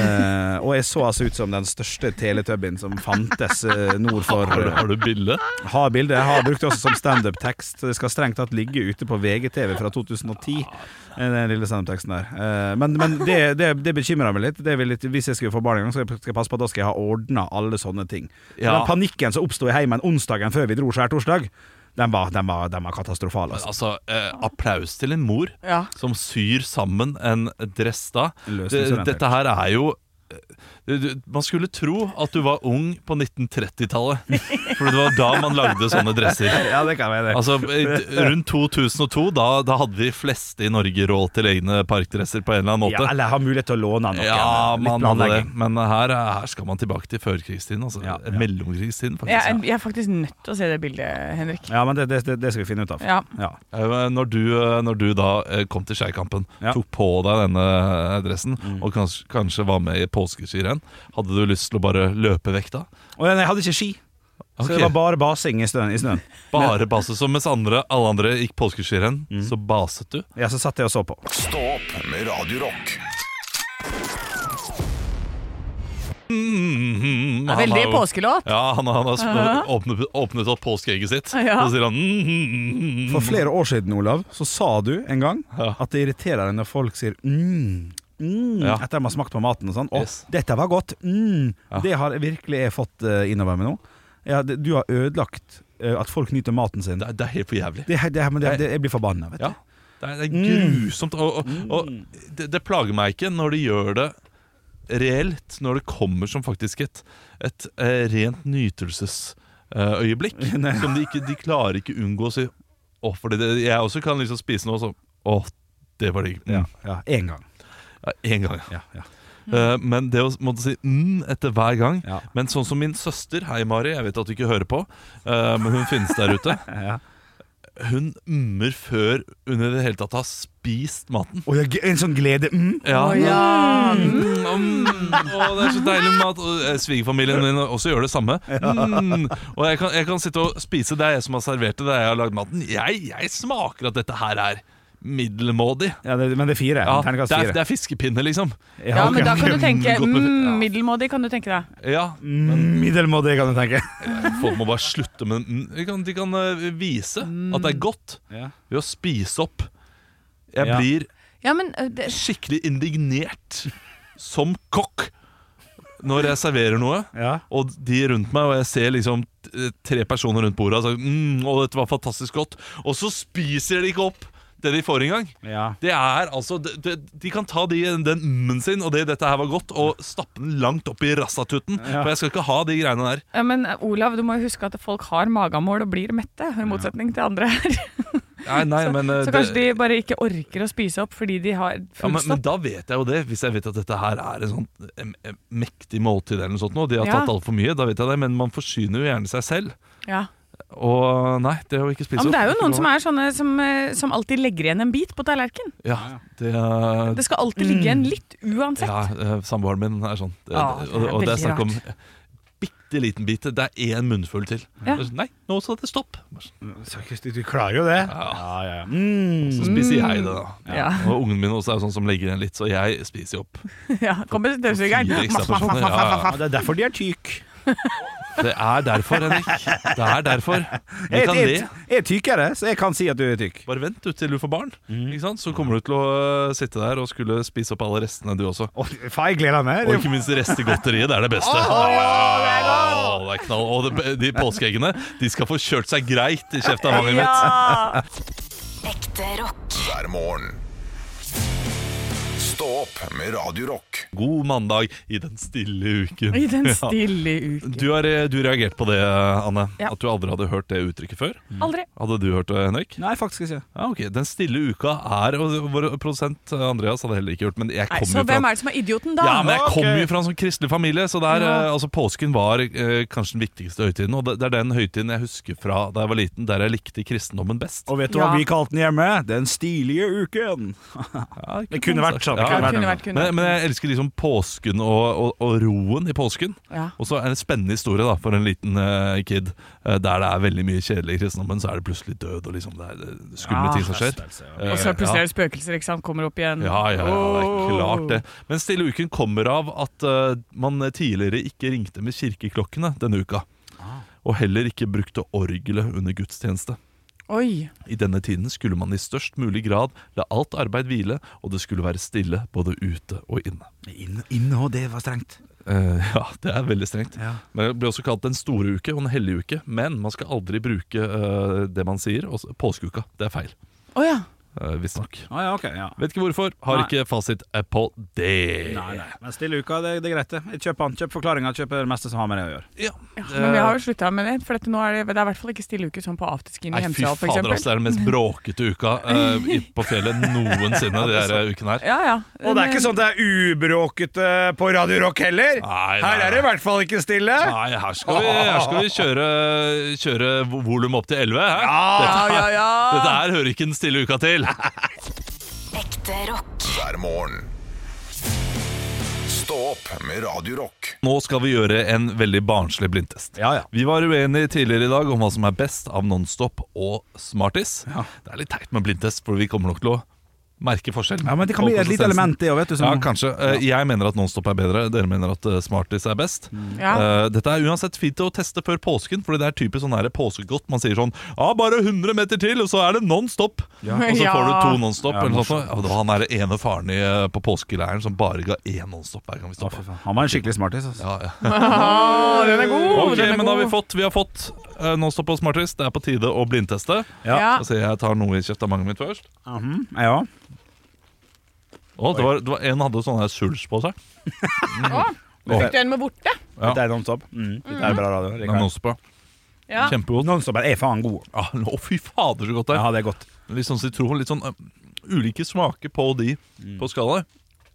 E: eh, Og jeg så altså ut som den største teletubbyen som fantes eh, nord for
D: Har du,
E: eh,
D: har du bilde?
E: Ha bildet. Jeg har brukt det også som standup-tekst. Det skal strengt tatt ligge ute på VGTV fra 2010, eh, den lille standup-teksten der. Eh, men men det, det, det bekymrer meg litt. Det vil litt. Hvis jeg skulle få barn en gang, så skal jeg passe på at da skal jeg ha ordna alle sånne ting. Men
D: Ja.
E: Den panikken som oppsto i heimen onsdagen før vi dro skjærtorsdag, den var, den var, den var katastrofal. Altså.
D: Altså, eh, applaus til en mor
B: Ja.
D: som syr sammen en dress da.
E: Løsningsorientert.
D: Det- Dette her er jo eh, du- du- man skulle tro at du var ung på 1930-tallet. For det var da man lagde sånne dresser.
E: Ja, det kan være det.
D: Altså, eh, Rundt 2002 da, da hadde vi fleste i Norge råd til egne parkdresser på en eller annen måte.
E: Ja, eller ha mulighet til å låne noe.
D: Ja,
E: Litt
D: man hadde det.
E: planlegging.
D: Men her, er- her skal man tilbake til førkrigstiden. Altså,
E: Ja, ja.
D: Mellomkrigstiden, faktisk.
B: Jeg, er- jeg er faktisk nødt til å se det bildet, Henrik.
E: Ja, men det, det, det skal vi finne ut av.
B: Ja.
D: Eh, Når du, eh, når du da eh, kom til Skeikampen,
E: Ja. Mm.
D: tok på deg denne eh, dressen og kanskje, kanskje var med i påskeskirenn, hadde du lyst til å bare løpe vekk da?
E: Og jeg hadde ikke ski, så
D: Ok.
E: det var bare basing i snøen. I snøen.
D: Bare base som mens andre, alle andre gikk påskeskirenn,
E: Mm.
D: så baset du.
E: Ja, så satt jeg og så på.
A: Stå opp med Radio Rock.
D: Mm, han
B: Veldig
D: har jo-
B: påskelåt.
D: Ja, han, han har sp- åpnet, åpnet opp påskeegget sitt.
B: Ja.
D: Så sier han mm,
E: For flere år siden, Olav, så sa du en gang
D: Ja.
E: at det irriterer deg når folk sier mm. Mm,
D: Ja.
E: Etter at de har smakt på maten og sånn. Å,
D: Yes.
E: dette var godt. Mm.
D: Ja.
E: Det har virkelig jeg fått eh, innover meg nå. Ja, det, du har ødelagt eh, at folk nyter maten sin. Det,
D: Det, er- det er helt for jævlig.
E: her- det, her- men det, det, jeg blir forbanna, vet du.
D: Ja, det er, det er grusomt Og, og,
E: Mm.
D: og det, det plager meg ikke når de gjør det reelt Når det kommer som faktisk et, et eh, rent nytelsesøyeblikk Som de, ikke, de klarer ikke unngå å si Åh, fordi det, jeg også kan liksom spise noe sånn Åh, det var digg mm.
E: Ja, ja, en gang.
D: ja, En gang ja.
E: Ja, ja.
D: Eh, Men det å måtte si mm etter hver gang
E: Ja.
D: Men sånn som min søster, hei Mari, jeg vet at du ikke hører på eh, Men hun finnes der ute
E: Ja.
D: Hun ummer før hun i det hele tatt har spist maten
E: Og jeg, en sånn glede. Mm.
D: Ja,
B: Ja.
D: Mm, å, det er så deilig med at og, eh, svigerfamilien min også gjør det samme. Mm, og jeg kan, jeg kan sitte og spise, det er jeg som har servert det, det er jeg som har lagd maten. Jeg, jeg smaker at dette her er middelmådig.
E: Ja, det, men det er fire.
D: Ja, det,
E: Terningkast
D: er,
E: fire.
D: det er fiskepinne, liksom.
B: Ja, men da kan du tenke
D: Godt med-
B: mm,
D: ja.
B: Middelmådig kan du tenke deg.
D: Ja,
E: Mm, Middelmådig, kan du tenke.
D: Folk må bare slutte med mm, De kan, de kan eh, vise at det er godt
E: Ja.
D: ved å spise opp. Jeg
E: Ja.
D: blir
B: Ja, men ø, det,
D: skikkelig indignert som kokk når jeg serverer noe.
E: Ja.
D: Og de rundt meg, og jeg ser liksom t- tre personer rundt bordet og sier mm, å, dette var fantastisk godt. Og så spiser de ikke opp det de får engang.
E: Ja.
D: Det er altså det- det- De kan ta de, den mm-en sin og det 'dette her var godt', og stappe den langt opp i rassatuten.
E: Ja.
D: For jeg skal ikke ha de greiene der.
B: ja, men ø, Olav, du må jo huske at folk har magemål og blir mette, i motsetning til andre her.
D: Nei, nei, men, eh,
B: Så
D: det-
B: kanskje de bare ikke orker å spise opp fordi de har
D: ja,
B: full
D: men, men
B: stopp.
D: da vet jeg jo det, hvis jeg vet at dette her er en sånn em, em, mektig måltid eller noe sånt. nå, De har
B: Ja.
D: tatt altfor mye, da vet jeg det, men man forsyner jo gjerne seg selv.
B: Ja.
D: Og nei, det å ikke spise
B: Ja, men det er jo
D: opp
B: noen som er sånne som, ø, som alltid legger igjen en bit på tallerkenen.
D: Ja, det, er-
B: Det skal alltid ligge igjen litt uansett.
D: Mm. Ja, eh, samboeren min er sånn. Det,
B: Ja,
D: det,
B: det
D: og,
B: er
D: og det er
B: veldig
D: snakk om bitte liten bit. Det er én munnfull til.
B: Ja.
D: Nei, nå sa det stopp. sånn,
E: Så, Kristi, du klarer jo det.
D: Ja.
E: ja, ja. Mm.
D: Så spiser jeg det, da.
B: Ja.
D: Og ungen min også er sånn som legger igjen litt, så jeg spiser jo opp.
B: Ja, kom med
D: Fire
B: støvsugeren.
D: ekstra porsjoner. Ja, ja.
E: Ja, det er derfor de er tyk.
D: Det er derfor, Henrik. Det er derfor. Vi
E: Jeg,
D: kan
E: jeg,
D: le.
E: jeg, er tykkere, så jeg kan si at du er tykk.
D: Bare vent du til du får barn, ikke sant? så kommer du til å øh, sitte der og skulle spise opp alle restene, du også.
E: Å, faen, jeg gleder meg.
D: Og ikke minst restegodteriet. Det er det beste. Åh, det er knall. Og det, de påskeeggene de skal få kjørt seg greit i kjeftamanget mitt.
B: Ja!
F: Ekte rock.
A: hver morgen. Stå opp med Radio Rock.
D: God mandag i den stille uken.
B: I den
D: Ja.
B: stille uken.
D: Du har du reagert på det, Anne.
B: Ja.
D: At du aldri hadde hørt det uttrykket før.
B: Aldri.
D: Hadde du hørt det, Henrik?
E: Nei, faktisk ikke.
D: Ja, ok. Den stille uka er Og vår produsent eh, Andreas hadde heller ikke gjort men jeg
B: Nei,
D: kom
B: så
D: jo fra
B: hvem er det som er idioten, da?
D: ja, men jeg
E: Ok.
D: kom jo fra en sånn kristelig familie, så der,
B: Ja.
D: eh, altså påsken var eh, kanskje den viktigste høytiden. Og det, det er den høytiden jeg husker fra da jeg var liten, der jeg likte kristendommen best.
E: Og vet du
B: Ja.
E: hva vi kalte den hjemme? Den stilige uken.
D: Ja,
E: Det kunne vært sånn.
D: Ja.
B: Ja, det kunne vært, kunne
D: Men, men jeg elsker liksom påsken og, og, og roen i påsken.
B: Ja.
D: Og så er det en spennende historie da, for en liten eh, kid. eh, der det er veldig mye kjedelig kristendom, men så er det plutselig død og liksom, det er eh, skumle
B: Ja.
D: ting som skjer. Eh,
B: Og så plutselig er
D: ja.
B: det spøkelser, ikke sant? Kommer opp igjen.
D: Ja, ja, ja, det er klart det.
B: Åh.
D: Men Stille uken kommer av at eh, man tidligere ikke ringte med kirkeklokkene denne uka.
B: Ah.
D: Og heller ikke brukte orgelet under gudstjeneste.
B: Oi.
D: I denne tiden skulle man i størst mulig grad la alt arbeid hvile, og det skulle være stille både ute og inne.
E: Inne inn, og det var strengt.
D: Eh, ja, det er veldig strengt.
E: Ja.
D: Men Det blir også kalt den store uke og den hellige uke. Men man skal aldri bruke eh, det man sier. Også, påskeuka. Det er feil,
B: Å ja.
D: uh, visstnok.
E: Ah, ja, ok, ja.
D: Vet ikke hvorfor. Har
E: Nei.
D: ikke fasit eh, på det.
E: Nei, nei, men stille uka, det, det er greit det. Jeg kjøper den, kjøper forklaringa, kjøper det meste som har med det å gjøre.
D: Ja,
B: ja. Men vi har jo slutta med det, for dette nå er det, det er i hvert fall ikke stille uker sånn på afterski i
D: Nei, fy
B: Hemsedal, for
D: fader,
B: eksempel.
D: altså, det er den mest bråkete uka eh, i- på fjellet noensinne. De her ukene her
B: Ja, ja.
E: Og det er ikke sånn at det er ubråkete på Radio Rock heller.
D: Nei, nei,
E: Her er det i
D: nei.
E: hvert fall ikke stille.
D: Nei, her skal vi, her skal vi kjøre, kjøre vo- volum opp til 11.
E: Ah.
D: Her.
B: Ja,
D: Dette,
B: ja, ja.
D: dette her hører ikke den stille uka til.
F: Ekte rock.
A: hver morgen. Stå opp med Radio Rock.
D: Nå skal vi gjøre en veldig barnslig blindtest.
E: Ja, ja.
D: Vi var uenige tidligere i dag om hva som er best av Nonstop og Smartis. Det er litt teit med blindtest, for vi kommer nok til å merke forskjellen.
E: Ja, men det kan
D: Og
E: bli et lite
D: konsistensen.
E: element liksom. det òg, vet du.
D: Ja, kanskje. Eh, Jeg mener at Nonstop er bedre. Dere mener at eh, Smarties er best.
E: Mm.
B: Ja.
D: Eh, Dette er uansett fint å teste før påsken, Fordi det er typisk sånn her påskegodt. Man sier sånn Ja, bare 100 meter til, og så er det Nonstop! Og så får du
B: Ja.
D: to Nonstop.
E: Ja,
D: eller noe sånt. Ja, det var han derre ene faren i, eh, på påskeleiren som bare ga én Nonstop hver gang vi stoppa.
E: Han var en skikkelig smartis. Altså.
D: Ja, ja.
B: Å, den er god!
D: Ok,
B: den er
D: men da har vi
B: god.
D: fått, vi har fått eh, Nonstop og Smarties. Det er på tide å blindteste.
E: Ja.
B: Ja.
D: Altså, jeg tar noe i kjeftamanget mitt først.
E: Mhm, jeg òg.
D: Å, det var, det var, en hadde sånn her suls på seg.
B: Å, fikk du en med borte?
D: Ja.
E: Dette er nonstop. Mm. Dette er bra radio.
D: Den Nonstop, ja.
B: Ja.
D: Kjempegodt.
E: Nonstop er faen god.
D: Ja, Å, fy fader, så godt det er.
E: Ja, det er godt.
D: Litt sånn sitron, litt sånn eh, ulike smaker på de
E: Mm.
D: på skalaer.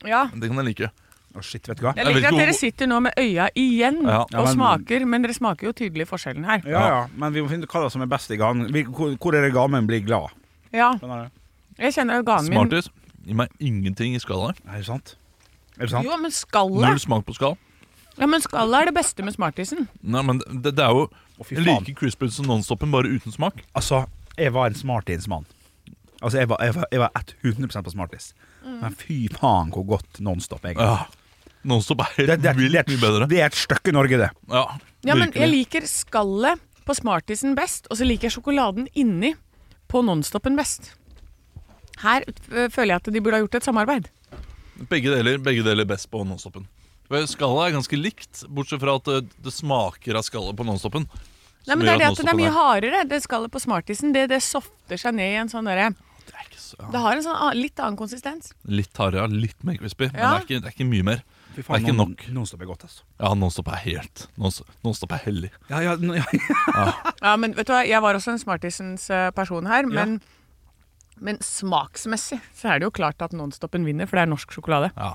B: ja.
D: Det kan jeg like.
E: Å, shit, vet du hva.
B: Jeg
D: Jeg vet
B: liker at
D: ikke
B: dere
D: hvor-
B: sitter nå med øya igjen
D: Ja.
B: og
E: Ja, men-
B: smaker, men dere smaker jo tydelig forskjellen her.
E: Ja, ja, men vi må finne ut hva som er best i ganen. Hvil- Hvor hvor er det ganen blir glad?
B: Ja,
E: Skjønner du?
B: jeg kjenner jo ganen min.
D: Smarties gir meg ingenting i skalaer.
E: Er det sant? Er det sant?
B: Jo, men skallet
D: Null smak på skala.
B: Ja, men skallet er det beste med smartisen.
D: Nei, men det, det er jo
E: Å, fy faen.
D: like crispy som Nonstopen, bare uten smak.
E: Altså, jeg var en smartismann. Altså, jeg var, jeg var, jeg var 100 på smartis.
B: Mm.
E: Men fy faen hvor godt Nonstop egentlig
D: Ja. Nonstop er
E: Det,
D: helt
E: det, det,
D: vilt mye
E: er-
D: bedre.
E: det er et stykke Norge, det.
D: Ja,
B: Ja, men jeg
D: virkelig.
B: liker skallet på smartisen best, og så liker jeg sjokoladen inni på nonstopen best. Her øh, føler jeg at de burde ha gjort et samarbeid.
D: Begge deler, begge deler best på nonstopen. Skala er ganske likt, bortsett fra at det, det smaker av skallet på nonstopen.
B: Nei, men det er det at den er mye hardere, det skallet på smartisen. Det, det softer seg ned i en sånn derre
D: hard.
B: Det har en sånn annen- litt annen konsistens.
D: Litt hardere, litt mer crispy, men det
B: Ja.
D: er, ikke, det er ikke mye mer.
E: Fy
D: Det er ikke
E: non-
D: nok.
E: Nonstop er godt, altså.
D: Ja, Nonstop er helt Nonstop, nonstop er hellig.
E: Ja, ja, n- ja.
B: Ja, men vet du hva, jeg var også en smartisens eh, person her, men, men smaksmessig så er det jo klart at Nonstopen vinner, for det er norsk sjokolade.
D: Ja,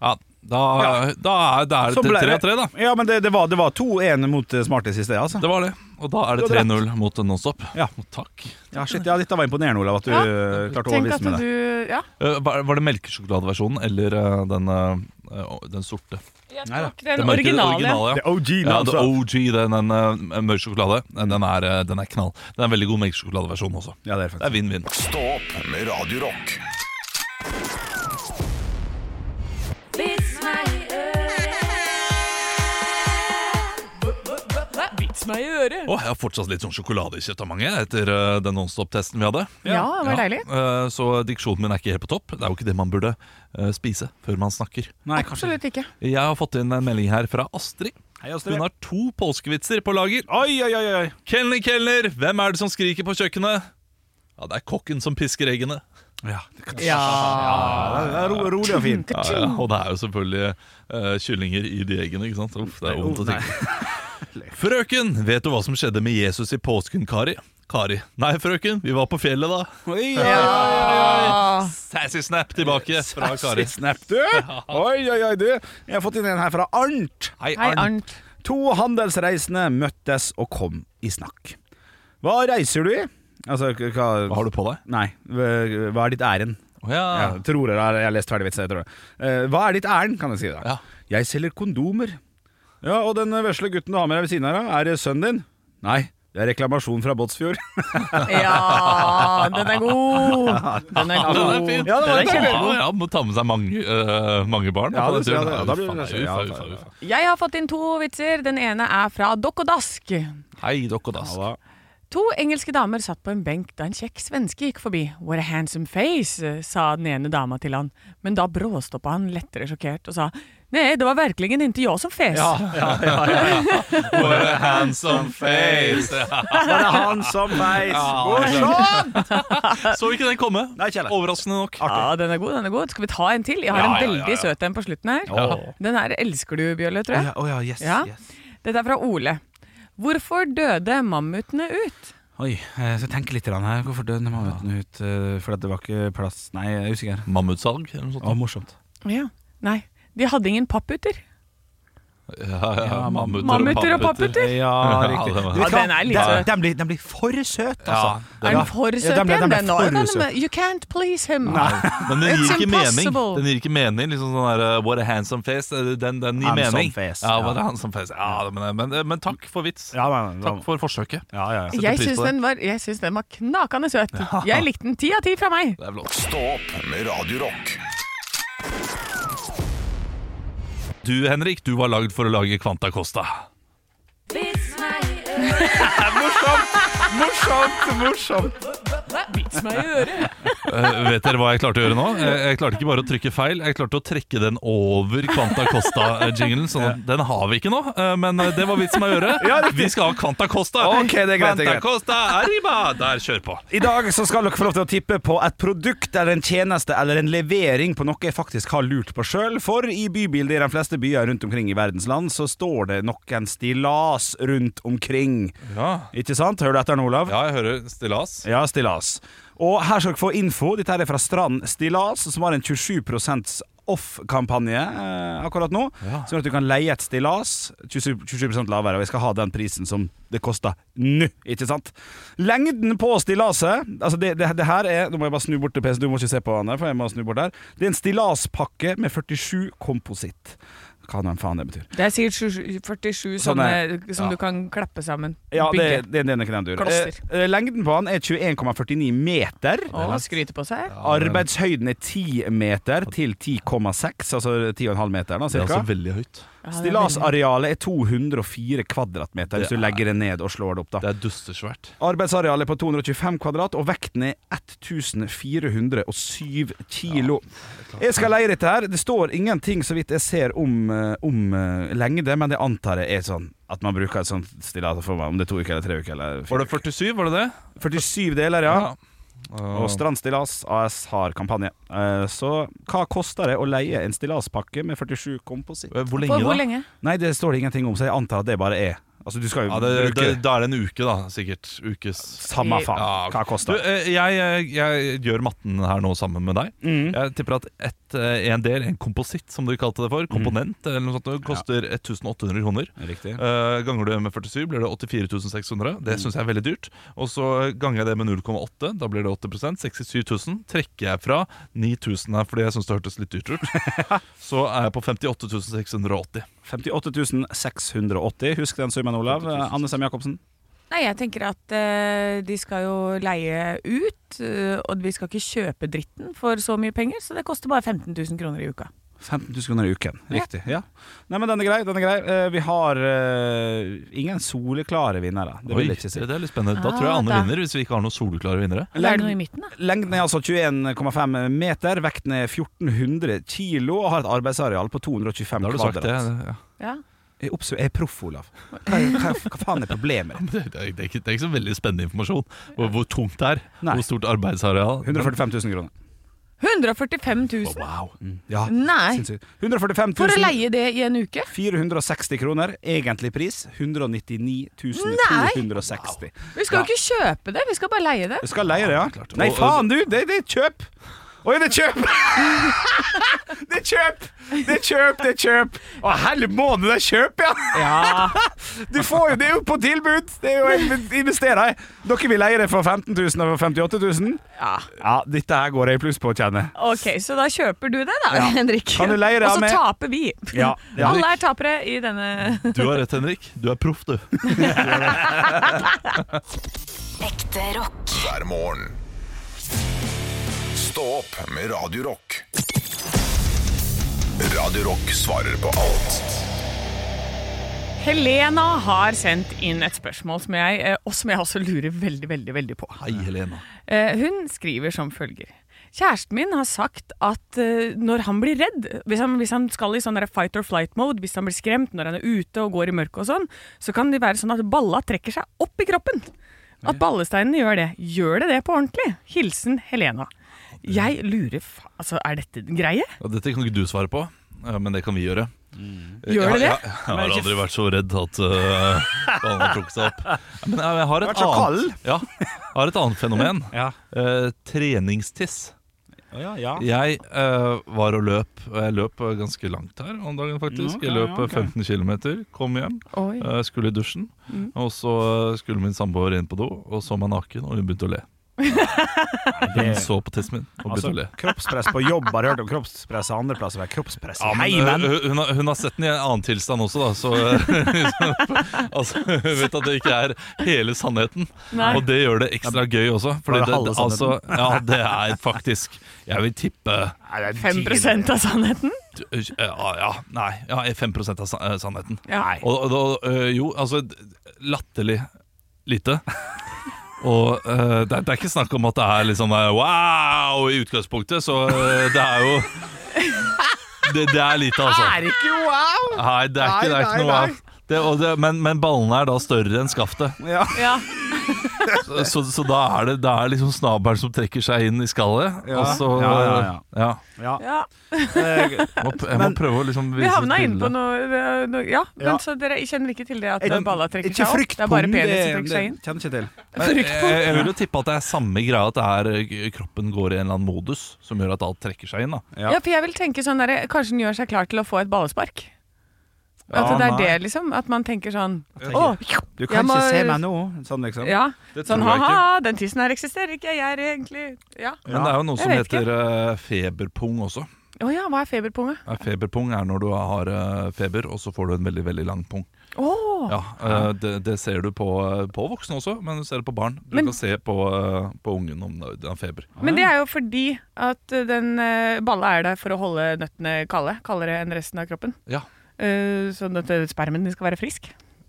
D: ja da, da er da er det
E: Sånn ble
D: tre av tre, da.
E: Ja, men det, det var, det var 2-1 mot eh, smartis i sted, altså.
D: Det var det. Og da er det
E: Du hadde
D: 3-0 mot Nonstop.
E: Ja.
D: Takk.
E: Ja, shit, ja, dette var imponerende, Olav, at du
B: Ja.
E: eh, klarte å
B: Tenk
E: overbevise
B: at
E: meg.
B: du
E: der.
B: Ja,
D: Eh, Var var det melkesjokoladeversjonen eller eh, den, eh, å, den sorte?
B: jeg
E: Nei da.
B: tok den
D: Den mørke,
B: originale.
D: originale,
E: Det er OG,
D: ja,
E: altså.
D: det er OG, den, den eh, mørk sjokolade. Den, den, er, eh, den er knall. Den er en veldig god melkesjokoladeversjon også.
E: Ja, det er
D: Det
E: faktisk
D: er vinn-vinn.
A: Stå opp med Radio Rock.
H: Vits meg i øret.
B: Knuste meg i øret.
D: Å, jeg har fortsatt litt sånn sjokoladekjøttmange etter eh, den Nonstop-testen vi hadde.
B: Ja, det var deilig.
D: Eh, Så diksjonen min er ikke helt på topp. Det er jo ikke det man burde eh, spise før man snakker.
E: Nei, kanskje
B: Absolutt ikke.
D: Jeg har fått inn en melding her fra Astrid.
E: Hei, Astrid.
D: Hun har to påskevitser på lager.
E: Oi, oi, oi, oi.
D: Kelner, kelner, hvem er det som skriker på kjøkkenet? Ja, det er kokken som pisker eggene.
E: Ja,
B: Ja.
E: det er ro, rolig og fint.
D: Ja, ja. Og det er jo selvfølgelig eh, kyllinger i de eggene, ikke sant? Uff, det er vondt å tenke på. Frøken, vet du hva som skjedde med Jesus i påsken, Kari? Kari. Nei, frøken, vi var på fjellet da.
E: Oi, oi, oi,
B: Ah.
D: Sassy snap tilbake fra Kari.
E: Snap, du. Oi, oi, oi, du. Jeg har fått inn en her fra Arnt.
B: Hei, Arnt.
E: To handelsreisende møttes og kom i snakk. Hva reiser du i? Altså, k- hva
D: Hva har du på deg?
E: Nei, hva hva er ditt ærend?
D: Å ja.
E: Ja, tror jeg, jeg har lest ferdig vitsen, jeg tror det. Eh, hva er ditt ærend, kan jeg si da?
D: Ja.
E: Jeg selger kondomer. Ja, og den vesle gutten du har med deg ved siden her, da, er det sønnen din? Nei, det er reklamasjon fra Båtsfjord.
B: Ja, den er god. Den er
D: Den er
B: god.
D: fin.
E: Ja, det var
D: Den er
E: kjempegod.
D: kjempegod. Ja, må ta med seg mange, eh, mange barn.
E: Ja,
D: på
E: det
D: den
E: tror jeg
D: turen.
E: det. Da blir
D: Uffa,
E: det- ja,
D: uffa,
E: ja, ja.
D: uffa, uffa.
B: Jeg har fått inn to vitser. Den ene er fra Dokk og Dask.
D: Hei, dokk og dass.
E: Ja, da.
B: To engelske damer satt på en benk da en kjekk svenske gikk forbi. What a handsome face, sa den ene dama til han. Men da bråstoppa han lettere sjokkert og sa nei, det var virkelig ikke jeg som fes.
D: What a handsome face. Ja.
E: Bare han som veis. Morsomt!
D: Så ikke den komme.
E: Nei, kjære.
D: Overraskende nok.
B: Ja, den er god, den er god. Skal vi ta en til? Jeg har
D: Ja,
B: en
D: ja, ja,
B: veldig
D: ja.
B: søt en på slutten her.
E: Åh.
B: Den her elsker du, Bjørle, tror
E: Å
B: jeg.
E: ja, å ja, yes,
B: Ja.
E: yes.
B: Dette er fra Ole. Hvorfor døde mammutene ut?
E: Oi, eh, så tenk litt grann her. Hvorfor døde mammuten ut? eh, Fordi at det var ikke plass Nei, jeg er usikker.
D: Mammutsalg eller noe
E: Å,
D: sånt.
E: morsomt.
B: Ja. Nei, de hadde ingen papputer.
D: Ja, ja,
E: Ja,
D: mammuter,
B: Mammuter og papputer.
E: Ja,
D: Ja,
E: riktig.
D: det var-
E: Vet du
B: Ja,
E: hva?
B: den er litt
E: Da-
B: søt.
E: Den blir, den blir for søt, altså.
B: Er den for søt
E: den ble-
B: igjen?
E: den ble
B: Den var-
E: for
B: den-
E: søt.
B: You can't please him.
D: Men den gir
B: It's
D: ikke mening.
B: impossible.
D: Den gir ikke mening Liksom sånn der, uh, What a handsome face. uh, Den, den gir
E: Handsome
D: mening.
E: face,
D: ja,
E: ja.
D: what a handsome face ja, men, men, men takk for vits.
E: Ja, men,
D: Takk for forsøket.
E: ja, ja, ja.
B: Jeg
D: pris
B: syns
D: på det.
B: den, var- jeg syns den var knakende søt. Jeg likte den ti av ti fra meg.
D: Det er flott.
A: Stå opp med Radio Rock.
D: Du, Henrik, du var lagd for å lage Kvanta Costa.
E: Morsomt, morsomt.
B: Vits meg i øret.
D: Uh, vet dere hva jeg klarte å gjøre nå? Jeg, jeg klarte ikke bare å trykke feil, jeg klarte å trekke den over Kvanta Costa-jinglen. Så den har vi ikke nå, uh, men uh, det var vitsen med å gjøre. vi skal ha Kvanta Costa.
E: Ok, det er greit, det
D: Kvanta
E: er greit.
D: Costa, arriba! Der, kjør på.
E: I dag så skal dere få lov til å tippe på et produkt eller en tjeneste eller en levering på noe jeg faktisk har lurt på sjøl, for i bybildet i de fleste byer rundt omkring i verdens land så står det noen stillas rundt omkring.
D: Ja,
E: Ikke sant? Hører du etter nå, Olav?
D: ja jeg hører stillas.
E: Ja, stillas. Og her skal dere få info. Dette her er fra Strand Stillas, som har en 27 off-kampanje eh, akkurat nå.
D: Ja.
E: Sånn at du kan leie et stillas 27, 27 lavere, og jeg skal ha den prisen som det koster nå. Ikke sant? Lengden på stillaset Altså, det, det, det her er Nå må jeg bare snu bort til PC, du må ikke se på den der, for jeg må snu bort der. Det er en stillaspakke med 47 kompositt. Hva nå enn faen det betyr.
B: Det er sikkert 47 47
E: Sånne-
B: sånne som
E: Sånn ja.
B: du kan klappe sammen.
E: Ja,
B: Bygge.
E: det, det, det er nok den du gjør.
B: Kloster.
E: Eh, eh, lengden på den er 21,49 meter.
B: Å, skryte på seg.
E: Arbeidshøyden er 10 meter til 10,6, altså 10,5 meter da,
D: Det er
E: cirka.
D: altså veldig høyt.
B: Ja, det er veldig-
E: Stillasarealet er 204 kvadratmeter, hvis
D: Det
E: du
D: er-
E: legger det ned og slår det opp da.
D: Det er dustesvært.
E: Arbeidsarealet er på 225 kvadrat, og vekten er 1407 kilo. Jeg skal leie dette her. Det står ingenting, så vidt jeg ser, om, eh, om eh, lengde, men det antar jeg er sånn at man bruker et sånt stillas for meg, om det er to uker eller tre uker eller
D: Var
E: fire.
D: det 47, var det det?
E: 47 deler, ja.
D: Uh,
E: Og Strandstillas AS har kampanje. Eh, Så hva koster det å leie en stillaspakke med 47 kompositt?
D: Hvor
B: For
D: lenge,
B: hvor
D: da?
B: lenge?
E: Nei, det står det ingenting om, så jeg antar at det bare er Altså, du skal jo
D: Ja, det,
E: bruke
D: det, da er det en uke, da. Sikkert. Ukes.
E: Samme faen.
D: Ja, ok.
E: Hva
D: Du,
E: koster det?
D: eh, jeg, jeg, jeg gjør matten her nå sammen med deg.
E: Mm.
D: Jeg tipper at et, eh, en del, en kompositt, som du kalte det for, komponent, eller noe sånt, koster 1800 kroner.
E: Riktig.
D: Eh, ganger du det med 47, blir det 84 600. Det syns jeg er veldig dyrt. Og så ganger jeg det med 0,8, da blir det 80 67 000. Trekker jeg fra 9000 her fordi jeg syns det hørtes litt dyrt ut, så er jeg på 58 680.
E: 58 680. Husk den summen, Olav. Eh, Anne Sem Jacobsen.
B: Nei, jeg tenker at eh, de skal jo leie ut, eh, og vi skal ikke kjøpe dritten for så mye penger, så det koster bare 15 000 kroner i uka.
E: 15 000 kroner i uken. Riktig. Ja. Nei, men den er grei. Den er grei. Eh, Vi har eh, ingen soleklare vinnere. Det
D: Oi,
E: vil jeg ikke si.
D: det er litt spennende. Da tror jeg
B: Ah,
D: Anne
B: da.
D: vinner, hvis vi ikke har noen soleklare vinnere.
B: Eller er det noe i midten, da?
E: Lengden er altså 21,5 meter, vekten er 1400 kilo og har et arbeidsareal på 225
D: Da har du sagt det.
E: kvadrat.
D: Ja.
B: Ja.
E: Jeg, obs- jeg er proff, Olav. Hva, hva, hva faen er problemet?
D: Det, det, er ikke, det er ikke så veldig spennende informasjon. Hvor, hvor tungt det er.
E: Nei.
D: Hvor stort arbeidsareal.
E: 145 000 kroner. Mm.
B: 145 000?
D: Wow.
E: Ja,
B: Nei!
E: sinnssykt. 145
B: For å
E: 000,
B: leie det i en uke?
E: 460 kroner. Egentlig pris 199
B: Nei!
E: 260.
B: Vi skal jo
E: Ja.
B: ikke kjøpe det, vi skal bare leie det.
E: Jeg skal leie det, ja.
D: klart.
E: Nei,
D: Og-
E: faen, du! Det det er kjøp! Oi, det er kjøp! Det er kjøp! Det er kjøp, det er kjøp! Å, helle måned, det er kjøp, ja! Du får jo, Det er jo på tilbud! Det er jo Investerer jeg. Dere vil leie det for 15 000 og for 58 000?
B: Ja.
E: Ja, dette her går jeg i pluss på, kjenner jeg.
B: Ok, så da kjøper du det, da, Henrik.
E: Kan du leie det
B: Og så
E: med-
B: taper vi.
E: Ja, ja.
B: Alle er tapere i denne
D: Du har rett, Henrik. Du er proff, du.
F: Ekte rock.
A: hver morgen. Stå opp med Radio Rock. Radio Rock svarer på alt
B: Helena har sendt inn et spørsmål som jeg, eh, og som jeg også lurer veldig, veldig, veldig på.
D: Hei, Helena.
B: Eh, Hun skriver som følger. Kjæresten min har sagt at eh, når han blir redd, hvis han, hvis han skal i sånn der fight or flight-mode, hvis han blir skremt når han er ute og går i mørket og sånn, så kan det være sånn at balla trekker seg opp i kroppen. At ballesteinene gjør det. Gjør det det på ordentlig? Hilsen Helena. Jeg lurer fa... Altså, er dette en greie?
D: Ja, dette kan ikke du svare på, eh, men det kan vi gjøre.
B: Gjør det det?
D: Jeg, jeg har aldri vært så redd at uh, han har trukket seg opp. Ja, Men jeg, jeg har,
E: Vært
D: et
E: så
D: annet, ja, jeg har et annet fenomen.
E: Ja.
D: Eh, treningstiss.
E: Ja, ja.
D: Jeg eh, var og løp, og jeg løp eh, ganske langt her om dagen, faktisk.
E: Ok,
D: jeg løp eh,
E: ok.
D: 15 km, kom hjem,
B: Oi.
D: eh, skulle i dusjen.
E: Mm.
D: Og så eh, skulle min samboer inn på do, og så meg naken, og hun begynte å le. Hun så på tissen min og begynte
E: Altså,
D: å le.
E: kroppspress på jobb, har du hørt om kroppspress andre plasser? Kroppspress i
D: Ja, men,
E: heimen!
D: øh, hun, har, hun har sett den i en annen tilstand også, da, så altså, Hun vet at det ikke er hele sannheten.
B: Nei.
D: Og det gjør det ekstra gøy også. Fordi
E: Bare
D: det,
E: halve
D: altså, ja, det er faktisk Jeg vil tippe
E: Nei, det er
B: 5
E: tidlig.
B: av sannheten?
D: Ja, ja nei. Ja, 5 av sa- eh, sannheten.
B: Ja.
E: Nei.
D: Og, og, da, øh, jo, altså d- Latterlig lite. Og øh, det, er, det er ikke snakk om at det er liksom eh, wow i utgangspunktet, så øh, det er jo det, det er lite, altså.
E: Er ikke wow!
D: Nei, det er ikke, det er
E: Nei,
D: ikke noe
E: nei, nei.
D: av det, og det, men, men ballene er da større enn skaftet.
E: Ja.
B: Ja.
D: Så, så da er det, det er liksom snabelen som trekker seg inn i skallet.
E: Ja.
D: Og så,
E: Ja, ja, ja.
D: ja.
E: ja.
B: ja.
E: Eh,
D: Jeg må, jeg må
E: Men-
D: prøve å liksom
B: Vi
D: vise
B: havna
D: et
B: inn på
D: bilde.
B: noe, noe Ja, men
E: Ja.
B: så dere kjenner ikke til det at
E: Ikke-
B: balla trekker
E: ikke
B: seg opp? Det er bare
E: fruktpung,
B: penis som
E: det-
B: trekker seg inn?
E: Det kjenner ikke til.
D: Jeg, jeg, jeg vil jo tippe at det er samme greia at det er, eh, kroppen går i en eller annen modus som gjør at alt trekker seg inn. Da.
E: Ja.
B: Ja, for jeg vil tenke sånn der, Kanskje den gjør seg klar til å få et ballespark? At
E: Ja,
B: det er
E: nei.
B: det, liksom? At man tenker sånn
E: tenker-
B: Å!
E: Du
B: Jeg
E: kan
B: må-
E: ikke se meg nå, sånn liksom.
B: Ja.
E: Det
B: Sånn
E: tror jeg ikke.
B: ha-ha, den tissen her eksisterer ikke, jeg er egentlig Ja.
D: Men
E: Ja.
D: det er jo noe
B: Jeg
D: som
B: vet
D: heter eh, feberpung også.
B: Å ja, hva er feberpunge?
D: Eh, Feberpung er når du har eh, feber, og så får du en veldig veldig lang pung.
B: Å!
D: Ja, eh, det, det ser du på, på voksne også, men du ser det på barn. Du
B: Men-
D: kan se på, eh, på ungen om den har feber.
B: Men det er jo fordi at eh, den eh, balla er der for å holde nøttene kalde. Kaldere enn resten av kroppen.
D: Ja,
B: Eh, Sånn at eh, spermen din skal være frisk.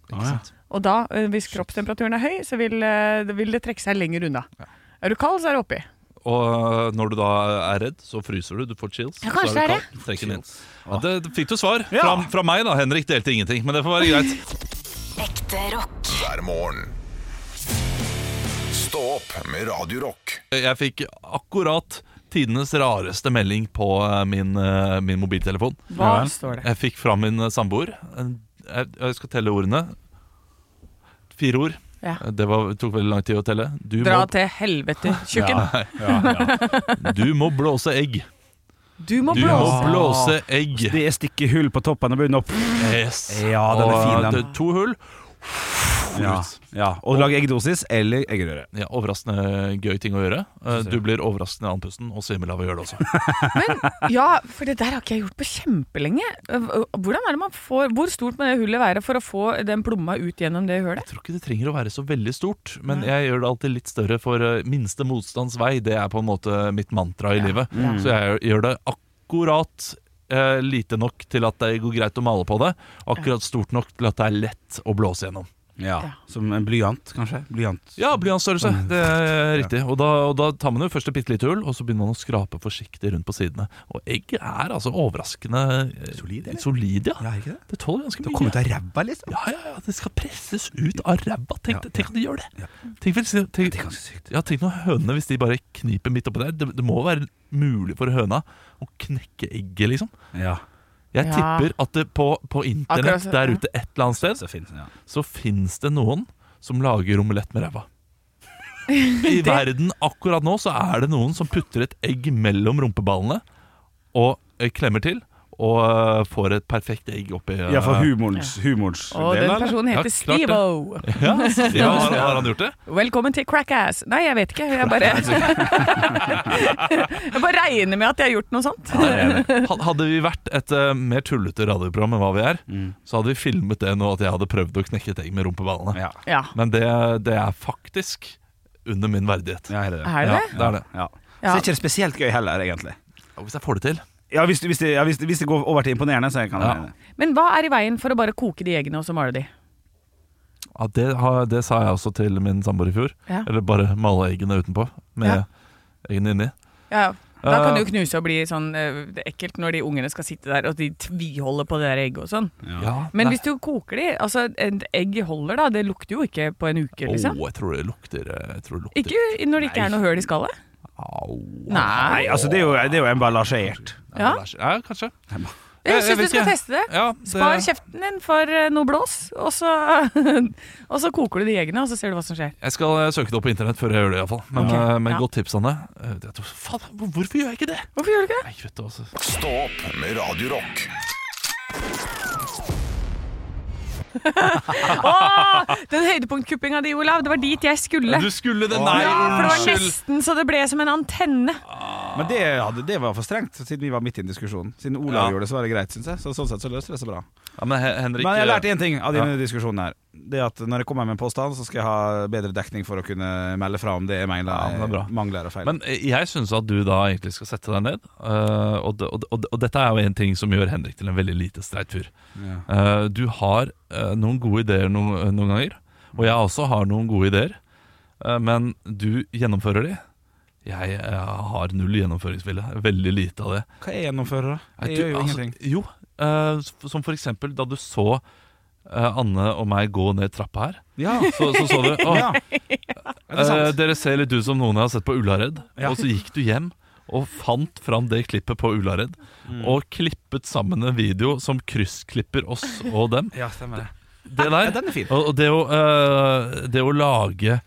D: ikke sant?
B: Og da, eh, hvis kroppstemperaturen er høy, så vil, eh, det- vil det trekke seg lenger unna. Er du kald, så er det oppi.
D: Og eh, når du da er redd, så fryser du, du får chills.
B: Ja, kanskje
D: så
B: det er
D: kaldt, trekker den inn. Ja, det, det fikk du svar
E: Ja.
D: fra, fra meg, da. Henrik delte ingenting, men det får være greit.
F: Ekte rock.
A: hver morgen. Stå opp med Radio Rock.
D: Jeg fikk akkurat tidenes rareste melding på eh, min, eh, min mobiltelefon.
B: Hva
E: Ja vel.
B: står det?
D: Jeg fikk fra min eh, samboer. En- Jeg, jeg skal telle ordene. Fire ord.
B: Ja.
D: Det var, tok veldig lang tid å telle. Du
B: Dra
D: må
B: til helvete, tjukken.
D: Du må blåse egg.
B: Du må
D: Du må
B: blåse.
D: blåse egg.
E: Det er stikke hull på toppen av bunnen opp.
D: Yes.
E: Ja, den er fin, den.
D: Og, eh, To hull.
E: Ja. Ja. Og lage eggdosis eller eggerøre.
D: Ja, overraskende gøy ting å gjøre. Eh, Du blir overraskende andpusten og svimmel av å gjøre det også.
B: Ja, for det der har ikke jeg gjort på kjempelenge. Eh, Hvordan er det man får, Hvor stort må det hullet være for å få den plomma ut gjennom det
D: Jeg
B: hullet?
D: tror ikke det trenger å være så veldig stort, men jeg gjør det alltid litt større for eh, minste Mm.
E: Mm.
D: motstands vei. Det er på en måte mitt mantra i livet. Så jeg gjør det akkurat eh, lite nok til at det går greit å male på det, akkurat stort nok til at det er lett å blåse gjennom.
E: Ja,
B: Ja.
E: Som en blyant, kanskje? Blyant.
D: Ja, blyantstørrelse.
E: Mm.
D: Det er riktig. Og da, og da tar man jo først et bitte lite hull, og så begynner man å skrape forsiktig rundt på sidene. Og egg er altså overraskende eh,
E: Solid, eller?
D: solid ja.
E: Ja, ikke det?
D: Det tåler ganske
E: Det
D: mye.
E: kommer ut av ræva, liksom.
D: Ja, ja, ja, det skal presses ut av ræva. Tenk,
E: Ja,
D: tenk om de gjør det.
E: Ja.
D: Tenk, hvis- tenk,
E: Det er ganske sykt.
D: ja, tenk når hønene, hvis de bare kniper midt oppi der det, det må være mulig for høna å knekke egget, liksom.
E: Ja,
D: Jeg
B: Ja.
D: tipper at det på, på internett
B: Akkurat så-
D: der
B: ja.
D: ute et eller annet sted,
E: så fint. Ja.
D: så fins det noen som lager omelett med ræva. I verden akkurat nå så er det noen som putter et egg mellom rumpeballene og eh, klemmer til, og eh, får et perfekt egg oppi eh,
E: ja, for humorens, humorens
B: Og
E: del,
B: den
E: eller?
B: personen
D: Ja,
B: heter
D: klart det.
B: Steve-O.
D: Ja, ja, har, har han gjort det?
B: Velkommen til Crackass. Nei, jeg vet ikke. Jeg bare Jeg bare regner med at jeg har gjort noe sånt.
D: Had- Hadde vi vært et eh, mer tullete radioprogram enn hva vi er,
E: Mm.
D: så hadde vi filmet det nå at jeg hadde prøvd å knekke et egg med rumpeballene.
E: Ja,
B: Ja.
D: Men det, det er faktisk under min verdighet.
E: ja, er det det?
B: Er det det?
D: Ja, det er det.
E: Ja.
B: Ja.
E: Så er ikke det spesielt gøy heller, egentlig.
D: Og Hvis jeg får det til.
E: Ja, hvis, hvis, det, ja, hvis, det- hvis det går over til imponerende, så kan jeg
D: Ja.
E: mene det.
B: Men hva er i veien for å bare koke de eggene og så male de?
D: Ja, det, har, det sa jeg også til min samboer i fjor.
B: Ja.
D: Eller bare male eggene utenpå med
B: Ja.
D: eggene inni.
B: Ja. Da kan
D: Eh,
B: det jo knuse og bli sånn eh, det er ekkelt når de ungene skal sitte der og de tviholder på det der egget og sånn.
D: Ja,
B: Men
D: nei.
B: hvis du koker de Altså, et egg holder da, det lukter jo ikke på en uke, liksom.
D: Åh, jeg tror det lukter eh, Jeg tror det lukter
B: Ikke når det ikke er noe høl i skallet?
D: Au.
B: Nei.
E: Nei, altså, det er jo, det er jo emballasjert.
B: Ja.
D: ja kanskje.
B: Jeg
D: jeg
B: syns
D: vet
B: du skal
D: ikke.
B: teste det.
D: Ja,
B: Spar kjeften din for eh, noe blås, og så, og så koker du de eggene, og så ser du hva som skjer.
D: Jeg skal eh, søke det opp på internett før jeg gjør det, iallfall. Men,
B: Ok,
D: okay. men
B: ja.
D: godt tips, Anne. Eh, jeg tror- Faen, hvor- hvorfor gjør jeg ikke det?
B: Hvorfor gjør du ikke det?
D: Nei, vet du, altså.
A: Stå opp med Radio Rock.
B: Åh, den høydepunktkuppinga di, Olav. Det var dit jeg skulle.
D: Du skulle det,
B: ja, for
D: nei,
B: det var
D: unnskyld!
B: nesten så det ble som en antenne.
E: Men det, hadde, det var for strengt, siden vi var midt i en diskusjon. Siden Olav
D: Ja.
E: gjorde det, så var det greit, syns jeg. Så, sånn sett så løste det seg bra.
D: Ja, men Hen- Henrik
E: Men jeg har lært
D: eh,
E: én ting av denne
D: Ja.
E: diskusjonen her. Det er at Når jeg kommer med en påstand, så skal jeg ha bedre dekning for å kunne melde fra om det jeg mangler,
D: Ja, men det er bra.
E: mangler og feil.
D: Men eh, jeg syns at du da egentlig skal sette deg ned. eh, og, det- og, det- og, det- og dette er jo en ting som gjør Henrik til en veldig lite streit fyr.
E: ja.
D: Eh, du har eh, noen gode ideer noen, noen ganger, og jeg også har noen gode ideer. eh, men du gjennomfører de. Jeg eh, har null gjennomføringsvilje. Veldig lite av det.
E: Hva er gjennomfører, da?
D: Nei,
E: Jeg
D: du,
E: gjør jo
D: altså,
E: ingenting.
D: Jo, eh, s- som for eksempel da du så eh, Anne og meg gå ned trappa her.
E: Ja,
D: Så så, så du «Å,
E: ja. Er det
D: eh,
E: sant?
D: Dere ser litt ut som noen jeg har sett på Ullared.
E: Ja.
D: Og så gikk du hjem og fant fram det klippet på Ullared.
E: Mm.
D: Og klippet sammen en video som kryssklipper oss og dem.
E: Ja, stemmer det.
D: Det
E: Ja,
D: der,
E: den er fin.
D: og og det å, eh, det å lage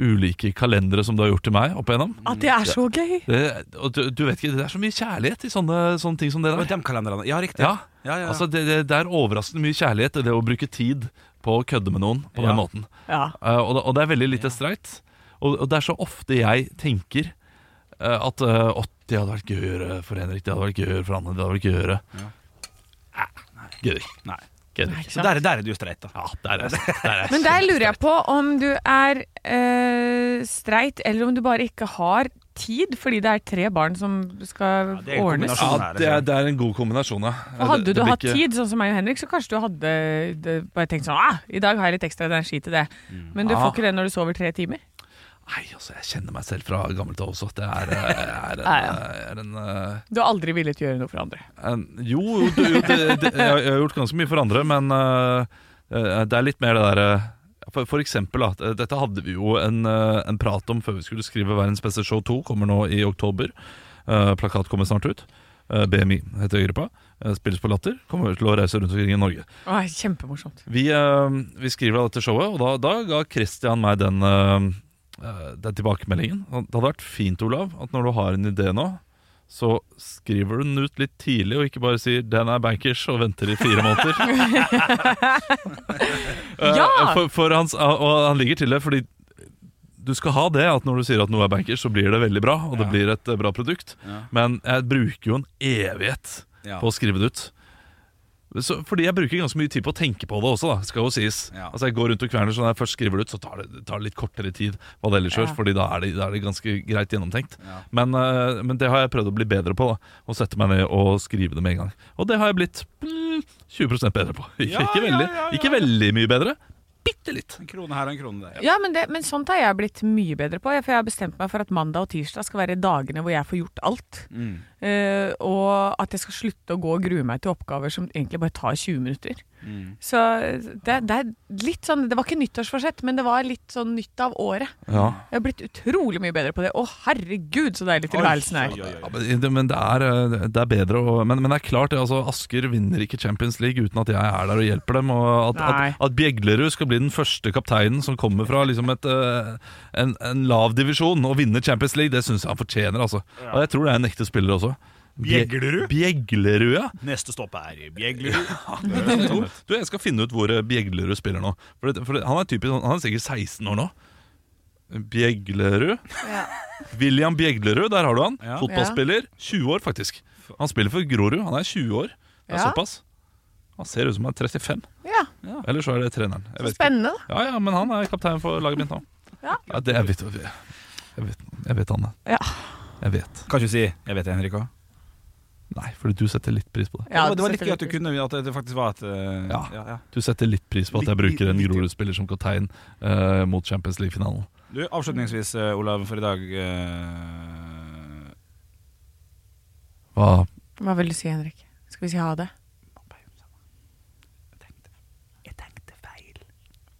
D: ulike kalendere som du har gjort til meg opp igjennom
B: At det er så gøy.
D: det, og du, du vet ikke, det er så mye kjærlighet i sånne, sånne ting som det
E: Og
D: der.
E: de kalenderne. Ja, riktig.
D: Ja,
E: Ja, ja, ja.
D: Altså, det, det, det er overraskende mye kjærlighet i det å bruke tid på å kødde med noen på
E: Ja.
D: den måten.
B: Ja.
D: Eh, og, det, og det er veldig lite streit. Og, og det er så ofte jeg tenker eh, at eh, «Å, det hadde vært gøy å gjøre for Henrik, det hadde vært gøy å gjøre for Anne, det hadde vært gøy å gjøre. Gøy.
E: Nei.
D: Gøy.
B: Nei, ikke
E: Så
B: sant?
E: der, der er du streit, da.
D: Ja, der er jeg. Der er jeg.
B: Men der lurer jeg på om du er eh, streit, eller om du bare ikke har tid fordi det er tre barn som skal
E: det er en
B: ordnes.
E: kombinasjon.
D: Ja, det er, det er en god kombinasjon, ja.
B: Og hadde
D: Det-
B: du
D: det blir
B: hatt
D: ikke-
B: tid, sånn som meg og Henrik, så kanskje du hadde det, bare tenkt sånn ah, I dag har jeg litt ekstra energi til det. Men du
D: Ja.
B: får ikke det når du sover tre timer.
D: Nei, altså, jeg kjenner meg selv fra gammelt av også. at Det er, eh, er en,
B: Ja,
D: eh, er en, eh,
B: Du har aldri villet gjøre noe for andre.
D: en Jo, jo, det, jo det, det, jeg jeg har gjort ganske mye for andre, men eh, eh, det er litt mer det derre for, for eksempel, at, eh, dette hadde vi jo en, eh, en prat om før vi skulle skrive Verdens beste show 2, kommer nå i oktober. Eh, plakat kommer snart ut. Eh, BMI heter gruppa. Eh, spilles på Latter. Kommer til å reise rundt omkring i Norge.
B: Åh, kjempemorsomt.
D: Vi, eh, vi skriver av dette showet, og da, da ga Christian meg den, eh, eh, den tilbakemeldingen. Det hadde vært fint, Olav, at når du har en idé nå, så skriver du den ut litt tidlig, og ikke bare sier 'den er bankers' og venter i fire måneder. Eh,
B: Ja!
D: for, for hans, eh, og han ligger til det fordi du skal ha det at når du sier at noe er bankers, så blir det veldig bra, og det
E: Ja.
D: blir et eh, bra produkt.
E: Ja.
D: Men jeg bruker jo en evighet
E: Ja.
D: på å skrive det ut. så, Fordi jeg bruker ganske mye tid på å tenke på det også, da, skal jo sies.
E: Ja.
D: Altså Jeg går rundt og kverner, så når jeg først skriver det ut, så tar det, tar det litt kortere tid hva det ellers gjør,
B: Ja.
D: fordi da er, det, da er det ganske greit gjennomtenkt. Men, eh, men det har jeg prøvd å bli bedre på. da Å sette meg ned og skrive det med en gang. Og det har jeg blitt mm, 20 bedre på. Ikke,
E: Ja,
D: ikke,
E: ja,
D: veldig,
E: ja, ja.
D: ikke veldig mye bedre. Bitte litt.
E: En krone her og en krone der.
B: Ja, men, det, men sånt har jeg blitt mye bedre på. jeg- For jeg har bestemt meg for at mandag og tirsdag skal være dagene hvor jeg får gjort alt.
E: Mm.
B: Eh, og at jeg skal slutte å gå og grue meg til oppgaver som egentlig bare tar 20 minutter. Så det, det er litt sånn Det var ikke nyttårsforsett, men det var litt sånn nytt av året.
D: Ja.
B: Jeg har blitt utrolig mye bedre på det. Å, herregud, så deilig tilværelsen er.
E: Oi, oi, oi.
D: Ja, men det- men det er, eh, det er bedre å, men, men det er klart, det, altså, Asker vinner ikke Champions League uten at jeg er der og hjelper dem. Og at,
B: Nei.
D: at, at Bjeglerud skal bli den første kapteinen som kommer fra liksom et, eh, en, en lav divisjon og vinner Champions League, det syns jeg han fortjener. Altså. Og jeg tror det er en ekte spiller også. Bje-
H: Bjeglerud?
D: Bjeglerud, ja.
H: Neste stopp er Bjeglerud.
D: Jo, du, jeg skal finne ut hvor eh, Bjeglerud spiller nå. For, det, for det, han, er typisk, sånn- han er sikkert 16 år nå. Bjeglerud. William Bjeglerud, der har du han.
E: Ja.
D: Fotballspiller. 20 år, faktisk. Han spiller for Grorud. Han er 20 år. Det er
B: Ja.
D: såpass. Han ser ut som han er 35.
B: Ja,
D: Eller så er det treneren. Jeg
B: så
D: vet ikke.
B: spennende. da.
D: Ja, ja, men han er kaptein for laget mitt nå.
B: Ja.
D: det, jeg, vet, jeg, vet, jeg vet han det.
B: Ja.
D: Jeg vet.
E: Kan ikke si 'jeg vet det, Henrik' òg?
D: Nei, fordi du setter litt pris på det.
B: Ja,
E: det var litt gøy at du
B: selvfølgelig.
E: kunne At det faktisk var et eh,
D: Ja.
E: Ja, ja.
D: Du setter litt pris på at jeg
E: Litt-
D: bruker en
E: litt-
D: Grorud-spiller som kaptein eh, mot Champions League-finalen.
E: Du, Avslutningsvis, eh, Olav, for i dag eh,
D: Hva
B: Hva vil du si, Henrik? Skal vi si ha det? Jeg tenkte feil.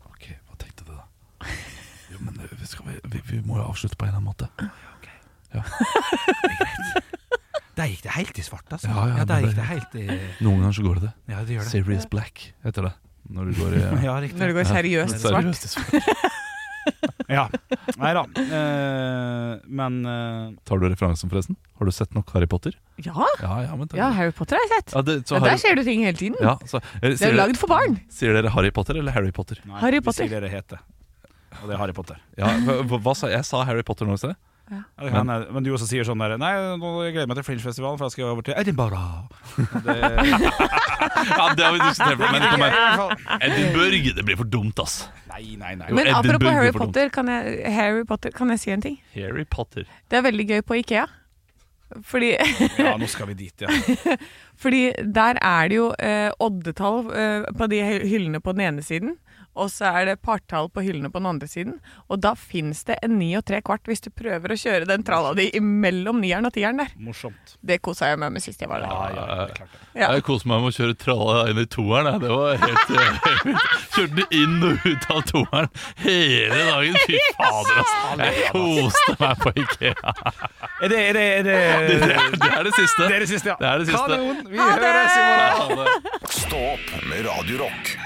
D: Ok, hva tenkte du da? Jo, men eh, vi, skal, vi- vi, vi må jo avslutte på en eller annen måte
E: Der gikk det helt i svart, altså.
D: Ja, ja,
E: der
D: men
E: gikk
D: det-
E: det helt i
D: Noen ganger så går det det
E: Ja, det gjør det.
D: Serious Black heter det Når du går i
E: Ja,
B: Når det
E: riktig.
B: går seriøst svart.
D: Seriøst i svart.
E: Ja. Nei da. Eh, men eh,
D: Tar du referansen forresten? Har du sett nok Harry Potter?
B: Ja,
D: Ja, ja, men det-
B: ja, Harry Potter har jeg sett.
D: Ja, det, så
B: Ja,
D: Harry-
B: der ser du ting hele tiden.
D: ja, så, eh,
B: Det er
D: sier,
B: jo
D: dere,
B: lagd for barn.
D: sier dere Harry Potter eller Harry Potter?
E: nei,
B: Harry
E: Vi
B: Potter.
E: sier det det heter. Og det er Harry Potter.
D: Ja, hva, hva sa jeg? Jeg sa Harry Potter nå i sted
E: Ja, det kan hende. men du også sier sånn der Nei, nå jeg gleder jeg meg til Fringe-festivalen, for jeg skal over til Edinburgh. Det,
D: Ja, det har vi diskutert Men det kommer
E: nei,
D: Edinburgh, det blir for dumt ass
E: nei, nei.
D: Jo,
B: Men apropos
D: Edinburgh
B: Harry
D: for dumt.
B: Potter, kan jeg, Harry Potter, kan jeg si en ting?
D: Harry Potter
B: Det er veldig gøy på Ikea. Fordi,
E: Ja, nå skal vi dit, ja.
B: fordi der er det jo eh, oddetall eh, på de hy- hyllene på den ene siden, og så er det partall på hyllene på den andre siden. Og da fins det en ni og tre kvart hvis du prøver å kjøre den tralla di imellom nieren og tieren der.
E: Morsomt.
B: Det kosa jeg meg med sist jeg var der.
E: det er klart det.
B: Ja.
D: Jeg koste meg med å kjøre tralla inn i toeren. jeg. Det var helt eh, Kjørte den inn og ut av toeren hele dagen. Fy fader, ass. Jeg koste meg på IKEA.
E: Er det, er det, er det,
D: Det det er det siste.
E: det er det siste, ja.
D: Det er det siste.
E: Kanon! Vi høres i morgen.
A: Stå opp med Radio Rock.